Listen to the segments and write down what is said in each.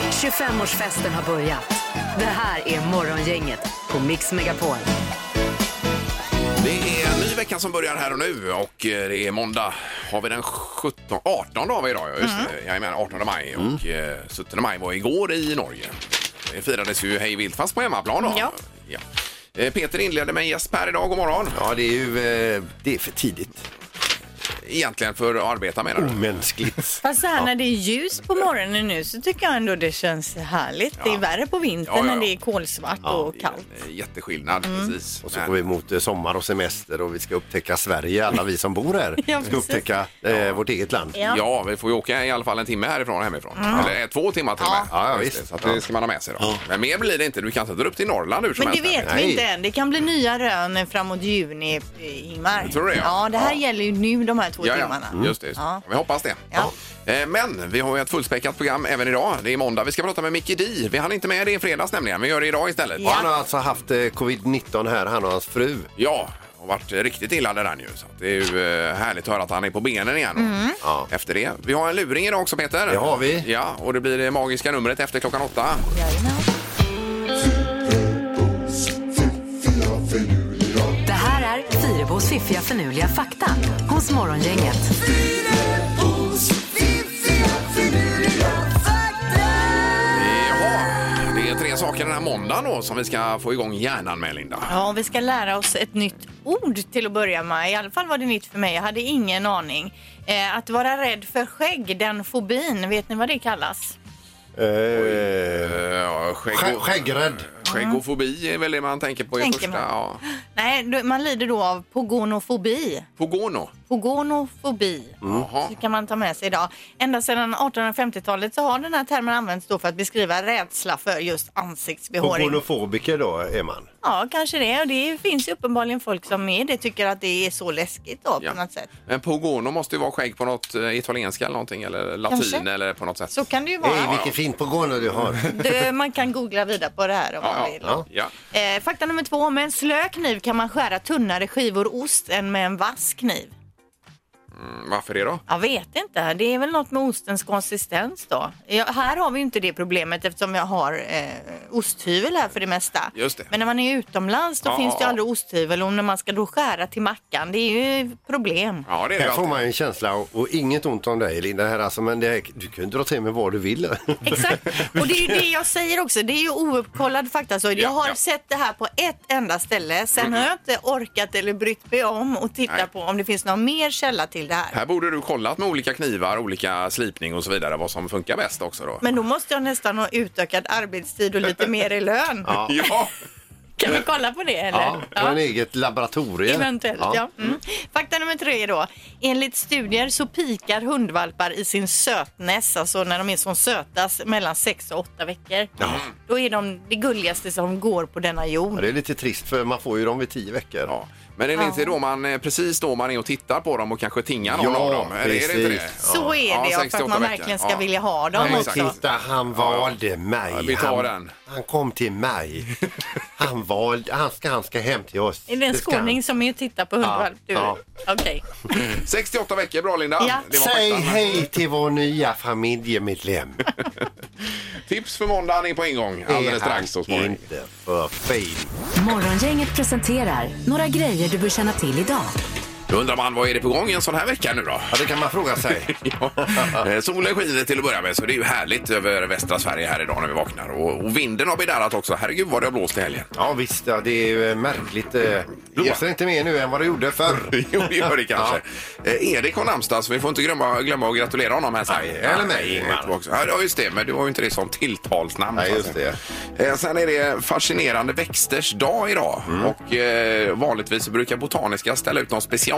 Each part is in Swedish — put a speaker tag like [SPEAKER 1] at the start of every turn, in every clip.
[SPEAKER 1] 25-årsfesten har börjat. Det här är Morgongänget på Mix Megapol.
[SPEAKER 2] Det är en ny vecka som börjar här och nu och eh, det är måndag. Har vi den 17, 18 har vi idag, ja, just det.
[SPEAKER 3] Mm.
[SPEAKER 2] Jag menar 18 maj och eh, 17 maj var igår i Norge. Det firades ju hej vilt fast på hemmaplan då.
[SPEAKER 3] Ja.
[SPEAKER 2] Ja. Eh, Peter inledde med en gäst här idag, god morgon.
[SPEAKER 4] Ja, det är ju eh, det är för tidigt. Mm.
[SPEAKER 2] Egentligen för att arbeta menar du?
[SPEAKER 4] Omänskligt.
[SPEAKER 3] Fast så här när det är ljus på morgonen nu så tycker jag ändå det känns härligt. Det
[SPEAKER 2] Ja.
[SPEAKER 3] är värre på vintern
[SPEAKER 2] Ja, ja, ja.
[SPEAKER 3] när det är kolsvart och kallt. Mm.
[SPEAKER 2] Eh, Jätteskillnad, precis.
[SPEAKER 4] Och så
[SPEAKER 2] Men-
[SPEAKER 4] går vi mot eh, sommar och semester och vi ska upptäcka Sverige, alla vi som bor här.
[SPEAKER 3] Ja,
[SPEAKER 4] ska
[SPEAKER 3] precis.
[SPEAKER 4] upptäcka eh, vårt eget land.
[SPEAKER 3] Ja. Mm.
[SPEAKER 2] Ja. vi får ju åka i alla fall en timme härifrån hemifrån. Eller eh, två timmar till och med.
[SPEAKER 4] Ja, ja,
[SPEAKER 2] Just det,
[SPEAKER 4] visst.
[SPEAKER 2] Så att det ska man ha med sig då. Men mer blir det inte. Du kan inte dra upp till Norrland hur som
[SPEAKER 3] Men det
[SPEAKER 2] helst.
[SPEAKER 3] vet vi
[SPEAKER 4] Nej.
[SPEAKER 3] inte än. Det kan bli nya rön framåt juni, eh, Ingmar.
[SPEAKER 2] Tror du det, ja?
[SPEAKER 3] Ja, det här
[SPEAKER 2] Ja.
[SPEAKER 3] gäller ju nu de här två
[SPEAKER 2] Ja,
[SPEAKER 3] timmarna.
[SPEAKER 2] ja, just det.
[SPEAKER 3] Ja.
[SPEAKER 2] Vi hoppas det.
[SPEAKER 3] Ja.
[SPEAKER 2] Eh, Men vi har ju ett fullspäckat program även idag. Det är måndag. Vi ska prata med Micke Di. Vi hann inte med det i fredags nämligen. Vi gör det idag istället.
[SPEAKER 4] Och han har alltså haft eh, covid-19 här, han och hans fru. Eh,
[SPEAKER 2] Ja, har varit riktigt illa där han ju. Så att det är ju eh, härligt att höra att han är på benen igen.
[SPEAKER 3] Mm.
[SPEAKER 4] Ja.
[SPEAKER 2] Efter det. Vi har en luring idag också Peter.
[SPEAKER 4] Det har vi.
[SPEAKER 2] Ja, och det blir det magiska numret efter klockan åtta.
[SPEAKER 3] Jajamän.
[SPEAKER 1] Det här är Fyrebos fiffiga förnuliga fakta hos Morgongänget.
[SPEAKER 2] Jaha, Eh, det är tre saker den här måndagen då som vi ska få igång hjärnan med Linda.
[SPEAKER 3] Ja, vi ska lära oss ett nytt ord till att börja med. I alla fall var det nytt för mig. Jag hade ingen aning. Eh, att vara rädd för skägg, den fobin, vet ni vad det kallas?
[SPEAKER 4] Eh,
[SPEAKER 2] Eh, skägg-
[SPEAKER 4] skä- skäggrädd.
[SPEAKER 2] Skäggofobi är väl det man tänker på i
[SPEAKER 3] Tänker
[SPEAKER 2] första.
[SPEAKER 3] man.
[SPEAKER 2] Ja.
[SPEAKER 3] Nej, då- man lider då av pogonofobi.
[SPEAKER 2] Pogono.
[SPEAKER 3] Pogonofobi.
[SPEAKER 4] Mm.
[SPEAKER 2] Jaha.
[SPEAKER 3] Det kan man ta med sig idag. Ända sedan 1850-talet så har den här termen använts då för att beskriva rädsla för just ansiktsbehåring.
[SPEAKER 4] Pogonofobiker då är man.
[SPEAKER 3] Ja, kanske det. Och det finns ju uppenbarligen folk som är det tycker att det är så läskigt då,
[SPEAKER 2] Ja.
[SPEAKER 3] på något sätt.
[SPEAKER 2] Men pogono måste ju vara skägg på något eh, italienska eller någonting eller latin
[SPEAKER 3] Kanske.
[SPEAKER 2] eller på något sätt.
[SPEAKER 3] Så kan det ju vara.
[SPEAKER 4] Hej, vilket fint pogono du har.
[SPEAKER 3] Du, man kan googla vidare på det här om
[SPEAKER 2] ja,
[SPEAKER 3] man vill.
[SPEAKER 2] ja. ja.
[SPEAKER 3] Eh, fakta nummer två. Med en slö kniv kan man skära tunnare skivor ost än med en vass kniv.
[SPEAKER 2] Mm, Varför det då?
[SPEAKER 3] Jag vet inte. Det är väl något med ostens konsistens då. Ja, här har vi ju inte det problemet eftersom jag har eh, osthyvel här för det mesta.
[SPEAKER 2] Just det.
[SPEAKER 3] Men när man är utomlands då
[SPEAKER 2] Ja,
[SPEAKER 3] finns det ju
[SPEAKER 2] ja.
[SPEAKER 3] aldrig osthyvel och när man ska då skära till mackan, det är ju problem.
[SPEAKER 2] Ja, det är det
[SPEAKER 4] Här
[SPEAKER 2] ju
[SPEAKER 4] får
[SPEAKER 2] alltid.
[SPEAKER 4] man ju en känsla och, och inget ont om dig Linda här alltså, men det, här- du kan ju dra till med vad du vill.
[SPEAKER 3] Exakt, och det är ju det jag säger också. Det är ju ouppkollad fakta. Så
[SPEAKER 2] Ja,
[SPEAKER 3] jag har
[SPEAKER 2] ja. Mm.
[SPEAKER 3] sett det här på ett enda ställe. Sen har jag inte orkat eller brytt mig om och titta
[SPEAKER 2] Nej.
[SPEAKER 3] på om det finns någon mer källa till det här.
[SPEAKER 2] Här borde du kollat med olika knivar, olika slipning och så vidare vad som funkar bäst också då.
[SPEAKER 3] Men då måste jag nästan ha utökad arbetstid och lite mer i lön.
[SPEAKER 4] Ja.
[SPEAKER 2] Ja,
[SPEAKER 3] Kan vi kolla på det eller?
[SPEAKER 4] Ja, du har en eget laboratorium.
[SPEAKER 3] Eventuellt, ja. Mm. Fakta nummer tre då. Enligt studier så pikar hundvalpar i sin sötness, alltså när de är som sötast, mellan sex och åtta veckor. Då är de det gulligaste som går på denna
[SPEAKER 4] Ja,
[SPEAKER 3] jord.
[SPEAKER 4] Det är lite trist för man får ju dem vid tio veckor.
[SPEAKER 2] ja. Men är det inte då man, eh, precis då man är och tittar på dem och kanske tingar någon
[SPEAKER 4] Ja,
[SPEAKER 2] av dem? Eller är det inte det?
[SPEAKER 4] precis.
[SPEAKER 3] Så är
[SPEAKER 2] Ja,
[SPEAKER 3] det ja, för
[SPEAKER 2] 68
[SPEAKER 3] att man
[SPEAKER 2] veckor.
[SPEAKER 3] verkligen ska
[SPEAKER 2] Ja.
[SPEAKER 3] vilja ha
[SPEAKER 2] Ja,
[SPEAKER 3] dem
[SPEAKER 2] men
[SPEAKER 3] också.
[SPEAKER 2] exakt.
[SPEAKER 4] Titta, han valde mig.
[SPEAKER 2] Ja, vi tar
[SPEAKER 4] han,
[SPEAKER 2] den.
[SPEAKER 4] han kom till mig. Han valde, han ska, han ska hem till oss.
[SPEAKER 3] Är det en
[SPEAKER 4] ska han.
[SPEAKER 3] skåning som är och tittar på hundvalp? Du?
[SPEAKER 4] Ja.
[SPEAKER 3] Okej.
[SPEAKER 2] 68 veckor, bra Linda.
[SPEAKER 3] Ja.
[SPEAKER 2] Det var
[SPEAKER 4] Säg
[SPEAKER 2] faktan.
[SPEAKER 4] hej till vår nya familjemedlem.
[SPEAKER 2] Tips för måndagen är på ingång alldeles strax hos
[SPEAKER 4] Är han
[SPEAKER 2] morgon.
[SPEAKER 4] inte för fin?
[SPEAKER 1] Morgongänget presenterar några grejer du bör känna till idag.
[SPEAKER 2] Då undrar man vad är det på gång en sån här vecka nu då?
[SPEAKER 4] Ja, det kan man fråga sig.
[SPEAKER 2] Ja. Eh, Solen skiner till att börja med så det är ju härligt över västra Sverige här idag när vi vaknar. Och, och vinden har bedarrat också. Herregud vad det har blåst i helgen.
[SPEAKER 4] Ja, visst. Ja, det är ju eh, märkligt. eh, Blåser inte mer nu än vad det gjorde förr.
[SPEAKER 2] Jo, det gör det kanske. Eh, Erik har namnsdag så vi får inte glömma, glömma att gratulera honom här sen.
[SPEAKER 4] Nej, eller mig, Ingmar.
[SPEAKER 2] Tillbaka. Ja, just det. Men du har ju inte det som tilltalsnamn.
[SPEAKER 4] Nej,
[SPEAKER 2] så att
[SPEAKER 4] just
[SPEAKER 2] säga. Eh, Sen är det fascinerande växters dag idag.
[SPEAKER 4] Mm.
[SPEAKER 2] Och eh, vanligtvis så brukar botaniska ställa ut någon specialväxt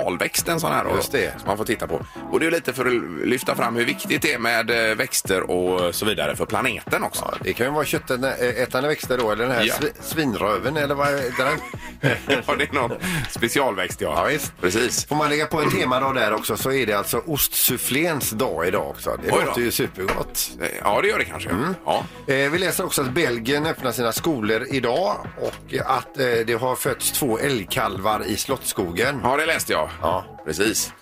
[SPEAKER 2] en sån här. då,
[SPEAKER 4] Just det.
[SPEAKER 2] Som man får titta på. Och det är lite för att lyfta fram hur viktigt det är med eh, växter och så vidare för planeten också.
[SPEAKER 4] Ja, det kan ju vara köttätande växter då, eller den här
[SPEAKER 2] Ja.
[SPEAKER 4] svi- svinröven eller vad är den?
[SPEAKER 2] Ja, det är någon specialväxt, ja.
[SPEAKER 4] Ja, visst.
[SPEAKER 2] Precis.
[SPEAKER 4] Får man lägga på en temadag där också så är det alltså ostsuffléns dag idag också. Det
[SPEAKER 2] Oj då.
[SPEAKER 4] låter ju supergott.
[SPEAKER 2] Eh, Ja, det gör det kanske. Ja.
[SPEAKER 4] Eh, vi läser också att Belgien öppnar sina skolor idag och att eh, det har fötts två älgkalvar i Slottsskogen.
[SPEAKER 2] ja, det läste jag.
[SPEAKER 4] Ja.
[SPEAKER 2] Precis.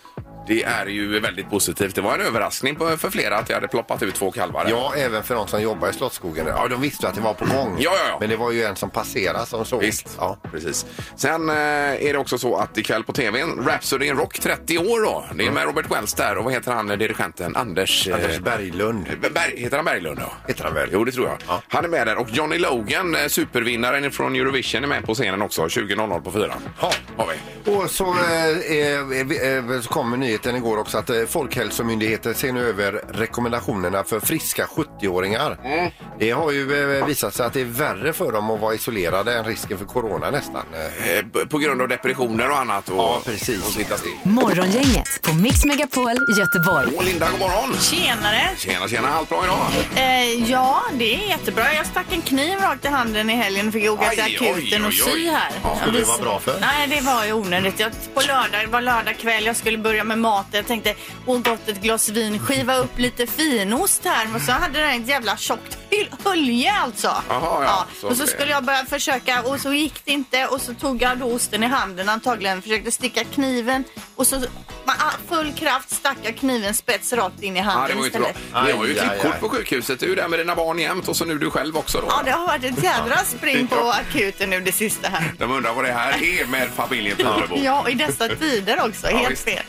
[SPEAKER 2] Det är ju väldigt positivt. Det var en överraskning på- för flera att jag hade ploppat ut två kalvar.
[SPEAKER 4] Ja, även för de som jobbar i Slottsskogen. Ja, de visste att det var på gång.
[SPEAKER 2] Ja, ja, ja.
[SPEAKER 4] Men det var ju en som passerade som såg.
[SPEAKER 2] Visst,
[SPEAKER 4] Ja.
[SPEAKER 2] precis. Sen eh, är det också så att ikväll på tvn, Rhapsody in Rock 30 år då. Det är med Robert Wells där och vad heter han, dirigenten? Anders... eh,
[SPEAKER 4] Mm. Anders Berglund.
[SPEAKER 2] Berg, heter han Berglund då?
[SPEAKER 4] Heter han väl?
[SPEAKER 2] Jo, det tror jag.
[SPEAKER 4] Ja.
[SPEAKER 2] Han är med där och Johnny Logan, eh, supervinnaren från Eurovision, är med på scenen också. 20.00 på fyran.
[SPEAKER 4] Ja.
[SPEAKER 2] Har vi.
[SPEAKER 4] Och så, eh, eh, eh, så kommer nyheten igår också att eh, Folkhälsomyndigheten ser nu över rekommendationerna för friska 70-åringar.
[SPEAKER 5] Mm.
[SPEAKER 4] Det har ju eh, visat sig att det är värre för dem att vara isolerade än risken för corona nästan. Eh,
[SPEAKER 2] Eh, p- På grund av depressioner och annat. Och,
[SPEAKER 4] Ja, precis.
[SPEAKER 2] Och sitta still.
[SPEAKER 1] Morgongänget på Mix Megapol Göteborg.
[SPEAKER 2] Och Linda, god morgon!
[SPEAKER 3] Tjenare!
[SPEAKER 2] Tjena, tjena. Allt bra idag?
[SPEAKER 3] Eh, ja, det är jättebra. Jag stack en kniv rakt i handen i helgen och fick åka till
[SPEAKER 2] Aj, oj,
[SPEAKER 3] akuten och
[SPEAKER 2] oj, oj.
[SPEAKER 3] sy här.
[SPEAKER 2] Ja,
[SPEAKER 4] skulle det vara bra för?
[SPEAKER 3] Nej, det var ju onödigt. Jag, på lördag, det var lördag kväll, jag skulle börja med maten. Jag tänkte, åh gott ett glas vin, skiva upp lite finost här. Och så hade den ett jävla tjockt hyl- hölje alltså.
[SPEAKER 2] ja, så
[SPEAKER 3] och så
[SPEAKER 2] det-
[SPEAKER 3] skulle jag börja försöka och så gick det inte. Och så tog jag då osten i handen antagligen, försökte sticka kniven. Och så med full kraft stack jag knivens spets rakt in i handen
[SPEAKER 2] Ja, det var ju inte bra.
[SPEAKER 3] istället.
[SPEAKER 2] Vi har ju
[SPEAKER 4] Aj, aj,
[SPEAKER 2] klippkort
[SPEAKER 4] aj.
[SPEAKER 2] på sjukhuset. Du är där med dina barn jämt och så nu du själv också då.
[SPEAKER 3] Ja, det har varit ett jädra spring på akuten nu det sista här.
[SPEAKER 2] De undrar vad det här är med familjen Fyrebo.
[SPEAKER 3] Ja, och i dessa tider också.
[SPEAKER 2] Ja,
[SPEAKER 3] Helt
[SPEAKER 2] visst.
[SPEAKER 3] fel.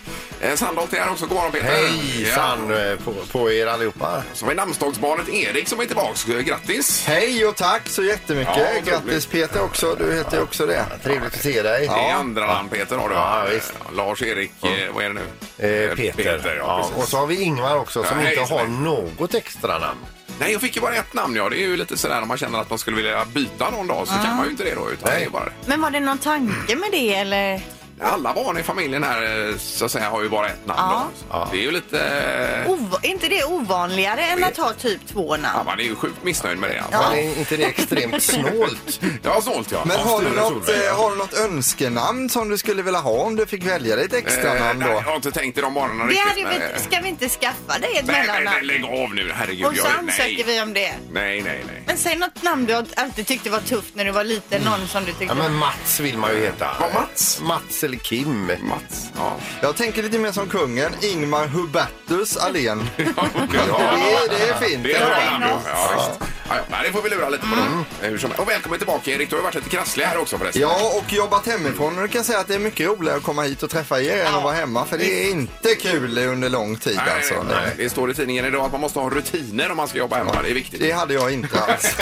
[SPEAKER 2] Eh, Sandholt är här också. God morgon Peter.
[SPEAKER 4] Hejsan eh, på, på er allihopa.
[SPEAKER 2] Så har vi namnsdagsbarnet Erik som är tillbaks. Eh, Grattis!
[SPEAKER 5] Hej och tack så jättemycket.
[SPEAKER 2] Ja, otroligt.
[SPEAKER 5] Grattis Peter också. Du heter ju också det.
[SPEAKER 4] Trevligt att se dig.
[SPEAKER 2] Det är andra namn Peter har du va?
[SPEAKER 4] Ja, visst.
[SPEAKER 2] Eh, Lars-Erik, eh, vad är det nu?
[SPEAKER 4] Eh,
[SPEAKER 2] Eh,
[SPEAKER 4] Peter.
[SPEAKER 2] Peter, ja,
[SPEAKER 4] ja,
[SPEAKER 2] precis.
[SPEAKER 4] och så har vi Ingvar också som
[SPEAKER 2] Ja, hej,
[SPEAKER 4] inte har
[SPEAKER 2] Sven.
[SPEAKER 4] något extra namn.
[SPEAKER 2] Nej, jag fick ju bara ett namn ja. Det är ju lite sådär om man känner att man skulle vilja byta någon dag så kan man ju inte det då. Utan
[SPEAKER 4] Nej.
[SPEAKER 2] det är bara...
[SPEAKER 3] Men var det någon tanke med det eller?
[SPEAKER 2] Alla barn i familjen här eh, så att säga har ju bara ett namn
[SPEAKER 3] Ja.
[SPEAKER 2] då. Så Det är ju lite... eh,
[SPEAKER 3] Ov- är inte det ovanligare än att ha typ två
[SPEAKER 2] Ja,
[SPEAKER 3] namn?
[SPEAKER 2] man är ju sjukt missnöjd med det alltså.
[SPEAKER 4] Men är inte det extremt snålt?
[SPEAKER 2] Ja, snålt ja.
[SPEAKER 5] Men
[SPEAKER 2] Ja,
[SPEAKER 5] har du,
[SPEAKER 2] Sture
[SPEAKER 5] något,
[SPEAKER 2] Solberg, ja.
[SPEAKER 5] eh, har du något önskenamn som du skulle vilja ha om du fick välja ditt extra
[SPEAKER 2] Eh,
[SPEAKER 5] namn
[SPEAKER 2] nej,
[SPEAKER 5] då?
[SPEAKER 2] Jag har inte tänkt i de banorna
[SPEAKER 3] Det
[SPEAKER 2] riktigt.
[SPEAKER 3] hade vi,
[SPEAKER 2] men- eh,
[SPEAKER 3] inte- ska vi inte skaffa dig
[SPEAKER 2] Nej,
[SPEAKER 3] ett
[SPEAKER 2] nej, nej,
[SPEAKER 3] mellannamn?
[SPEAKER 2] lägg av nu. Herregud.
[SPEAKER 3] Och så
[SPEAKER 2] jag-
[SPEAKER 3] ansöker
[SPEAKER 2] nej.
[SPEAKER 3] vi om det.
[SPEAKER 2] Nej, nej, nej.
[SPEAKER 3] Men säg något namn du alltid tyckte var tufft när du var liten. Någon som du
[SPEAKER 4] Ja,
[SPEAKER 3] tyckte...
[SPEAKER 4] men Mats vill man ju heta.
[SPEAKER 2] Ja, Mats.
[SPEAKER 4] Mats eller Kim.
[SPEAKER 2] Mats. Ja.
[SPEAKER 5] Jag tänker lite mer som kungen, Ingmar Hubertus Allén.
[SPEAKER 2] ja,
[SPEAKER 5] Det, det är fint.
[SPEAKER 2] Det är bra
[SPEAKER 3] Ja, Mm.
[SPEAKER 2] namn. då. Ja, visst. Ja, ja, nej, det får vi lura lite på dem. Eh, hur som helst. Och välkommen tillbaka Erik. Du har ju varit lite krasslig här också förresten.
[SPEAKER 5] Ja, och jobbat hemifrån. Och du kan säga att det är mycket roligare att komma hit och träffa er än att vara hemma. För det är inte kul under lång tid
[SPEAKER 2] Nej,
[SPEAKER 5] alltså.
[SPEAKER 2] nej, nej. Det står i tidningen idag att man måste ha rutiner om man ska jobba hemma. Det är viktigt.
[SPEAKER 5] Det hade jag inte alls.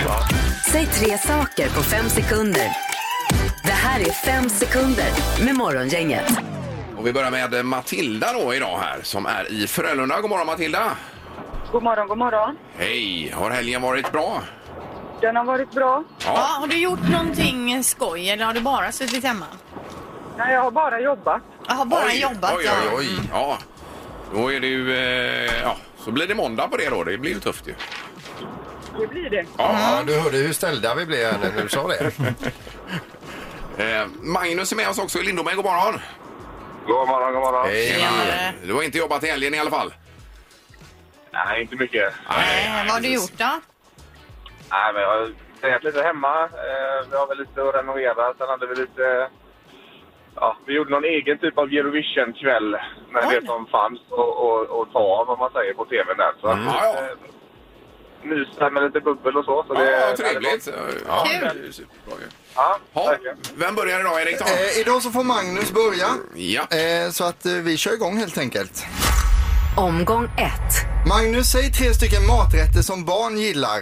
[SPEAKER 1] Säg tre saker på fem sekunder. Det här är fem sekunder med Morgongänget.
[SPEAKER 2] Och vi börjar med eh, Matilda då idag här som är i Frölunda. God morgon Matilda!
[SPEAKER 6] God morgon, god morgon.
[SPEAKER 2] Hej! Har helgen varit bra?
[SPEAKER 6] Den har varit bra.
[SPEAKER 3] Ja, har du gjort någonting skoj eller har du bara suttit hemma?
[SPEAKER 6] Nej, jag har bara jobbat.
[SPEAKER 3] Jag har bara
[SPEAKER 2] Oj,
[SPEAKER 3] jobbat.
[SPEAKER 2] Oj,
[SPEAKER 3] ja.
[SPEAKER 2] oj, oj. Ja. Då är det ju... Eh, ja. Så blir det måndag på det då. Det blir ju tufft ju.
[SPEAKER 6] Det blir det.
[SPEAKER 2] Ja.
[SPEAKER 4] Ja, du hörde hur ställda vi blev när du sa det.
[SPEAKER 2] Eh, Magnus är med oss också i Lindome. God morgon!
[SPEAKER 7] God morgon, god morgon.
[SPEAKER 4] Hej.
[SPEAKER 3] Tjenare.
[SPEAKER 2] Du har inte jobbat i helgen i alla fall?
[SPEAKER 7] Nej, inte mycket.
[SPEAKER 3] Nej, vad har du
[SPEAKER 2] precis.
[SPEAKER 3] gjort då?
[SPEAKER 7] Nej, men jag har tränat lite hemma. Eh, vi har väl lite att renovera. Sen hade vi lite... Ja, vi gjorde någon egen typ av Eurovision-kväll med
[SPEAKER 3] Oj.
[SPEAKER 7] det som fanns och, och, och ta av, vad man säger, på tvn där. Så,
[SPEAKER 2] Mm. Ja, ja.
[SPEAKER 7] eh, mys där med lite bubbel och så. så det,
[SPEAKER 2] Ja,
[SPEAKER 7] nej, det var-
[SPEAKER 2] trevligt. Ja,
[SPEAKER 3] Kul.
[SPEAKER 2] det är superbra ju.
[SPEAKER 7] Ja,
[SPEAKER 2] Ja,
[SPEAKER 7] verkligen.
[SPEAKER 2] vem börjar idag, Erik? Då?
[SPEAKER 5] Eh, idag så får Magnus börja.
[SPEAKER 2] Ja.
[SPEAKER 5] Eh, så att eh, vi kör igång helt enkelt.
[SPEAKER 1] Omgång ett.
[SPEAKER 5] Magnus, säg tre stycken maträtter som barn gillar.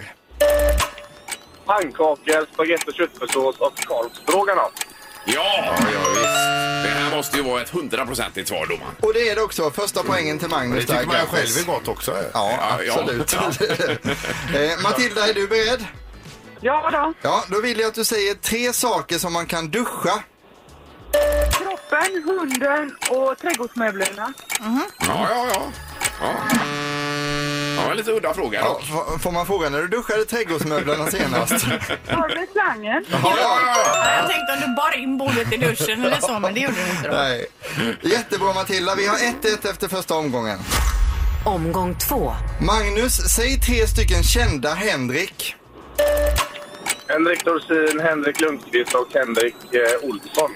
[SPEAKER 7] Pannkakor, spagetti och köttfärssås och korvstroganoff.
[SPEAKER 2] Ja, ja, visst. Det här måste ju vara ett hundraprocentigt svar, domaren.
[SPEAKER 5] Och det är det också. Första poängen till
[SPEAKER 4] Det
[SPEAKER 5] Magnus.
[SPEAKER 4] tycker
[SPEAKER 5] där,
[SPEAKER 4] man ju
[SPEAKER 5] grattis.
[SPEAKER 4] själv är gott också.
[SPEAKER 5] Ja,
[SPEAKER 2] Ja, ja.
[SPEAKER 5] absolut. eh, Matilda, är du beredd?
[SPEAKER 6] Ja då,
[SPEAKER 5] Ja, då vill jag att du säger tre saker som man kan duscha.
[SPEAKER 6] kroppen, hunden och trädgårdsmöblerna.
[SPEAKER 2] Ja, ja, ja. Ja, ja en lite udda fråga.
[SPEAKER 5] Ja,
[SPEAKER 2] Ja,
[SPEAKER 5] f- får man fråga när du duschade trädgårdsmöblerna senast?
[SPEAKER 6] Hörde slangen.
[SPEAKER 2] ja, ja.
[SPEAKER 3] Ja, Jag tänkte om du bar in bordet i duschen eller så, men det gjorde du inte då.
[SPEAKER 5] Nej. Jättebra Matilda, vi har 1-1 efter första omgången.
[SPEAKER 1] Omgång två.
[SPEAKER 5] Magnus, säg tre stycken kända Henrik.
[SPEAKER 7] Henrik Dorsin, Henrik Lundqvist och Henrik eh, Olsson.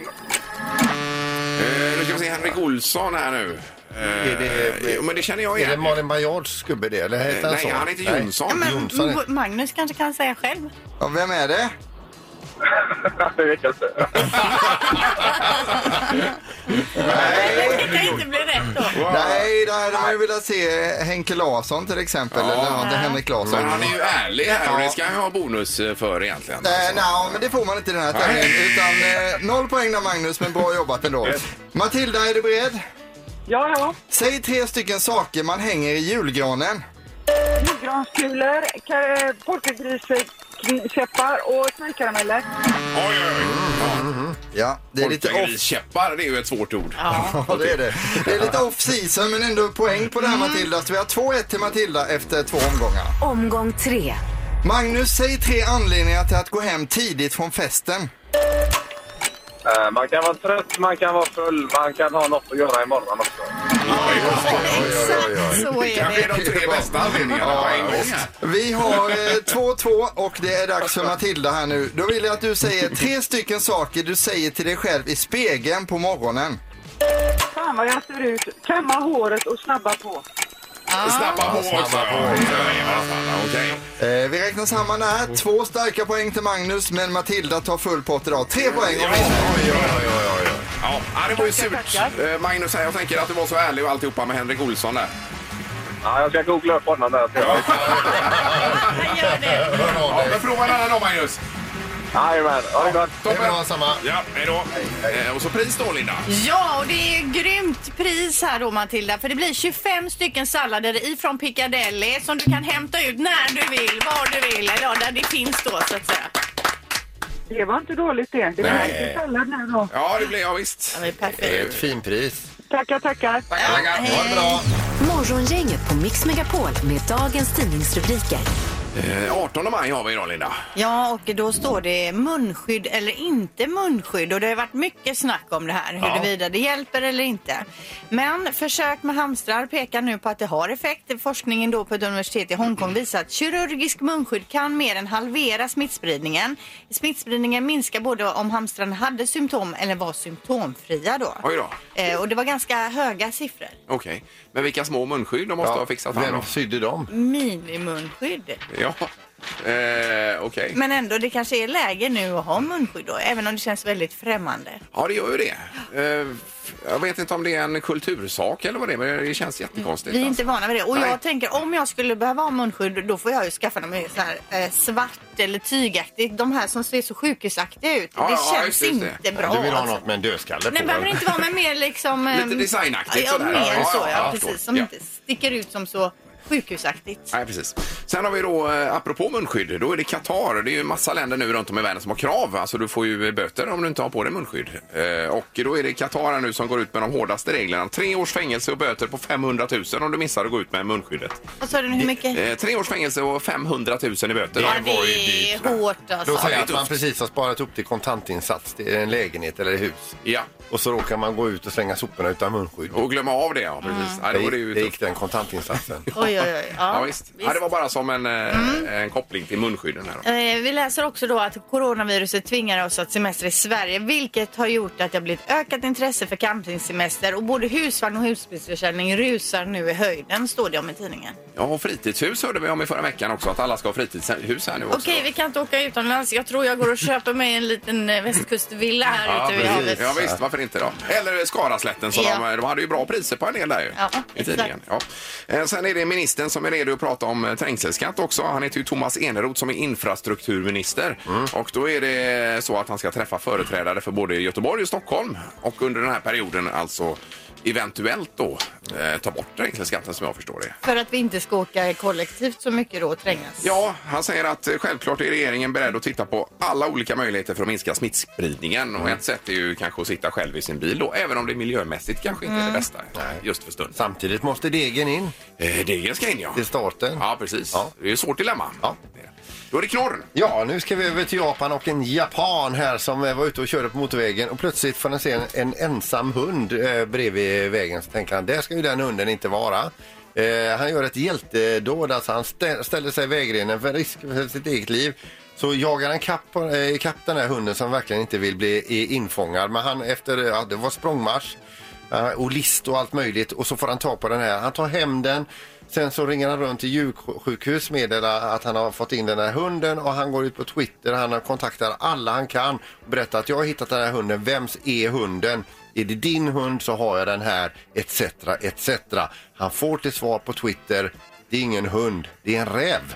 [SPEAKER 2] Eh, Nu ska vi se Henrik Olsson här nu. Eh,
[SPEAKER 4] Är det-
[SPEAKER 2] jo, men det känner jag
[SPEAKER 4] Är det
[SPEAKER 2] igen.
[SPEAKER 4] Malin Baryards gubbe det? Eller heter
[SPEAKER 2] Nej,
[SPEAKER 4] så?
[SPEAKER 2] han heter
[SPEAKER 4] Nej.
[SPEAKER 2] Jonsson.
[SPEAKER 3] Ja, men
[SPEAKER 4] Jonsson är-
[SPEAKER 3] Magnus kanske kan säga själv.
[SPEAKER 5] Ja, vem är det?
[SPEAKER 7] det vet jag inte.
[SPEAKER 3] Det kan inte bli rätt då.
[SPEAKER 5] Nej, då hade man ju velat se Henke Larsson till exempel.
[SPEAKER 2] Ja.
[SPEAKER 5] Eller något, Henrik Larsson.
[SPEAKER 2] Men han är ju ärlig här och
[SPEAKER 5] Ja.
[SPEAKER 2] det ska jag ha bonus eh, för egentligen. Alltså.
[SPEAKER 5] Nej, Eh, nej, men det får man inte i den här tävlingen.
[SPEAKER 2] Nej.
[SPEAKER 5] Utan eh, noll poäng där Magnus, men bra jobbat ändå. Matilda, är du beredd?
[SPEAKER 6] Ja, ja.
[SPEAKER 5] Säg tre stycken saker man hänger i julgranen.
[SPEAKER 6] Julgranskulor, ka- polkagriskäppar och snökarameller.
[SPEAKER 2] Oj, oj, oj.
[SPEAKER 5] Ja, det är lite off.
[SPEAKER 2] Polkagriskäppar, det är ju ett svårt ord.
[SPEAKER 5] Ja, det är det. Det är lite off season, men ändå poäng på det här
[SPEAKER 2] Mm.
[SPEAKER 5] Matilda. Så vi har 2-1 till Matilda efter två omgångar.
[SPEAKER 1] Omgång tre.
[SPEAKER 5] Magnus, säg tre anledningar till att gå hem tidigt från festen.
[SPEAKER 7] Eh, Man kan vara trött, man kan vara full, man kan ha något att göra imorgon också.
[SPEAKER 3] Exakt så
[SPEAKER 2] Det kanske är
[SPEAKER 3] är det.
[SPEAKER 2] de tre bästa anledningarna på en gång. här.
[SPEAKER 5] Vi har eh, 2-2 och det är dags för Matilda här nu. Då vill jag att du säger tre stycken saker du säger till dig själv i spegeln på morgonen.
[SPEAKER 6] Fan vad jag ser ut. Kamma håret och snabba på.
[SPEAKER 2] Snabba på också. Ja, Okej.
[SPEAKER 5] Eh, vi räknar samman det här. Två starka poäng till Magnus, men Matilda tar full pott idag. Tre poäng och vinner.
[SPEAKER 2] Ja, det var ju surt. Eh, Magnus, här, jag tänker att du var så ärlig och alltihopa med Henrik Olsson där.
[SPEAKER 7] Ja, jag ska googla upp honom där. ska jag.
[SPEAKER 3] Han gör det.
[SPEAKER 2] Ja, men prova en annan då, Magnus.
[SPEAKER 7] Jajamän, ha det gott!
[SPEAKER 4] Det är bra, samma.
[SPEAKER 2] Ja, hej då. Eh, Och så pris då, Linda.
[SPEAKER 3] Ja, och det är grymt pris här då Matilda. För det blir 25 stycken sallader ifrån Piccadilly som du kan hämta ut när du vill, var du vill. Eller ja, där det finns då så att säga.
[SPEAKER 6] Det var inte dåligt det. Det var
[SPEAKER 2] Nej.
[SPEAKER 6] lite sallad nu då.
[SPEAKER 2] Ja, det blir jag visst.
[SPEAKER 3] Ja, det är
[SPEAKER 4] Det är
[SPEAKER 3] perfekt.
[SPEAKER 4] ett fint pris.
[SPEAKER 6] Tackar, tackar.
[SPEAKER 2] Tackar. Ha det bra.
[SPEAKER 1] Morgongänget på Mix Megapol med dagens tidningsrubriker.
[SPEAKER 2] Eh, 18 maj har vi idag, Linda.
[SPEAKER 3] Ja, och då står det munskydd eller inte munskydd och det har varit mycket snack om det här huruvida det hjälper eller inte. Men försök med hamstrar pekar nu på att det har effekt. Forskningen då på ett universitet i Hongkong visar att kirurgisk munskydd kan mer än halvera smittspridningen. Smittspridningen minskar både om hamstrarna hade symptom eller var symptomfria då.
[SPEAKER 2] Oj då.
[SPEAKER 3] Eh, och det var ganska höga siffror.
[SPEAKER 2] Okej. Men vilka små munskydd de måste ha fixat fram då.
[SPEAKER 4] Vem sydde dem?
[SPEAKER 3] Minimunskydd.
[SPEAKER 2] Ja, eh, okej.
[SPEAKER 3] Men ändå, det kanske är läge nu att ha munskydd då, även om det känns väldigt främmande.
[SPEAKER 2] Ja, det gör ju det. Eh, f- jag vet inte om det är en kultursak eller vad det är, men det känns jättekonstigt.
[SPEAKER 3] Vi är
[SPEAKER 2] alltså.
[SPEAKER 3] inte vana vid det. Och
[SPEAKER 2] Nej.
[SPEAKER 3] jag tänker om jag skulle behöva ha munskydd då får jag ju skaffa dem i så här, eh, svart eller tygaktigt. De här som ser så sjukhusaktiga ut.
[SPEAKER 2] Ja, ja,
[SPEAKER 3] det
[SPEAKER 2] just
[SPEAKER 3] känns
[SPEAKER 2] det, just det.
[SPEAKER 3] inte bra.
[SPEAKER 4] Du vill ha
[SPEAKER 3] alltså.
[SPEAKER 4] något med en dödskalle
[SPEAKER 3] Nej,
[SPEAKER 4] på?
[SPEAKER 3] behöver inte vara med mer liksom... ehm,
[SPEAKER 2] Lite designaktigt
[SPEAKER 3] Ja,
[SPEAKER 2] sådär.
[SPEAKER 3] mer
[SPEAKER 2] Ja, ja,
[SPEAKER 3] så
[SPEAKER 2] ja,
[SPEAKER 3] ja,
[SPEAKER 2] jag förstår.
[SPEAKER 3] precis. Som
[SPEAKER 2] Ja.
[SPEAKER 3] inte sticker ut som så sjukhusaktigt.
[SPEAKER 2] Alltså. Nej, precis. Sen har vi då, eh, apropå munskydd, då är det Qatar. Det är ju en massa länder nu runt om i världen som har krav. Alltså du får ju böter om du inte har på dig munskydd. Eh, och då är det Qatar här nu som går ut med de hårdaste reglerna. Tre års fängelse och böter på 500 000 om du missar att gå ut med munskyddet.
[SPEAKER 3] Vad sa du nu, hur mycket?
[SPEAKER 2] Eh, tre års fängelse och 500 000 i böter.
[SPEAKER 3] Ja,
[SPEAKER 4] var ju
[SPEAKER 3] det
[SPEAKER 4] dyrt.
[SPEAKER 3] är hårt
[SPEAKER 4] Då
[SPEAKER 3] alltså.
[SPEAKER 4] säger
[SPEAKER 2] det är
[SPEAKER 4] jag att man
[SPEAKER 2] tufft.
[SPEAKER 4] precis har sparat upp till kontantinsats till en lägenhet eller hus.
[SPEAKER 2] Ja,
[SPEAKER 4] Och så råkar man gå ut och slänga soporna utan munskydd.
[SPEAKER 2] och glömma av det ja. Precis. Ja,
[SPEAKER 4] Det
[SPEAKER 2] då är det ju
[SPEAKER 4] gick, det
[SPEAKER 2] tufft.
[SPEAKER 4] gick den kontantinsatsen.
[SPEAKER 3] Oj, oj, oj.
[SPEAKER 2] Ja,
[SPEAKER 3] Ja,
[SPEAKER 2] visst. Ja, det var bara som en, eh, en koppling till munskydden. Här. då.
[SPEAKER 3] Eh, Vi läser också då att coronaviruset tvingar oss att semestra i Sverige vilket har gjort att det har blivit ökat intresse för campingsemester och både husvagn och husbilsförsäljning rusar nu i höjden står det om i tidningen.
[SPEAKER 2] Ja, och fritidshus hörde vi om i förra veckan också, att alla ska ha fritidshus här nu också.
[SPEAKER 3] Okej, vi kan inte åka utomlands. Jag tror jag går och köper mig en liten eh, västkustvilla här
[SPEAKER 2] Ja,
[SPEAKER 3] ute vid
[SPEAKER 2] precis.
[SPEAKER 3] havet.
[SPEAKER 2] ja, visst, varför inte då? Eller Skaraslätten, så
[SPEAKER 3] Ja.
[SPEAKER 2] de, de hade ju bra priser på en del där ju.
[SPEAKER 3] Ja,
[SPEAKER 2] i tidningen. Ja. Eh, Sen är det ministern som är redo att prata om eh, trängselskatt också. Han heter ju Thomas Eneroth som är infrastrukturminister.
[SPEAKER 3] Mm.
[SPEAKER 2] Och då är det så att han ska träffa företrädare för både Göteborg och Stockholm. Och under den här perioden alltså eventuellt då eh, ta bort trängselskatten som jag förstår det.
[SPEAKER 3] För att vi inte ska åka kollektivt så mycket då och trängas.
[SPEAKER 2] Ja, han säger att eh, självklart är regeringen beredd att titta på alla olika möjligheter för att minska smittspridningen.
[SPEAKER 3] Mm.
[SPEAKER 2] Och ett sätt är ju kanske att sitta själv i sin bil då, även om det miljömässigt kanske inte
[SPEAKER 3] Mm.
[SPEAKER 2] är det bästa eh, just för stunden.
[SPEAKER 4] Samtidigt måste degen in
[SPEAKER 2] Eh, Det ska in ja.
[SPEAKER 4] till starten.
[SPEAKER 2] Ja, precis.
[SPEAKER 4] Ja.
[SPEAKER 2] Det är ett svårt dilemma.
[SPEAKER 4] Ja.
[SPEAKER 2] Då är det knorren.
[SPEAKER 4] Ja, nu ska vi över till Japan och en japan här som eh, var ute och körde på motorvägen och plötsligt får han se en, en ensam hund eh, bredvid vägen. Så tänker han, där ska ju den hunden inte vara. Eh, han gör ett hjältedåd, alltså han stä- ställer sig i vägrenen för risk för sitt eget liv. Så jagar han kapp, eh, kapp den här hunden som verkligen inte vill bli eh, infångad. Men han efter, eh, ja, det var språngmarsch. eh, och list och allt möjligt och så får han ta på den här. Han tar hem den. Sen så ringer han runt till djursjukhus meddelar att han har fått in den här hunden och han går ut på Twitter. Han har kontaktar alla han kan och berättar att jag har hittat den här hunden. Vems är hunden? Är det din hund så har jag den här etc. etc. Han får till svar på Twitter. Det är ingen hund, det är en räv.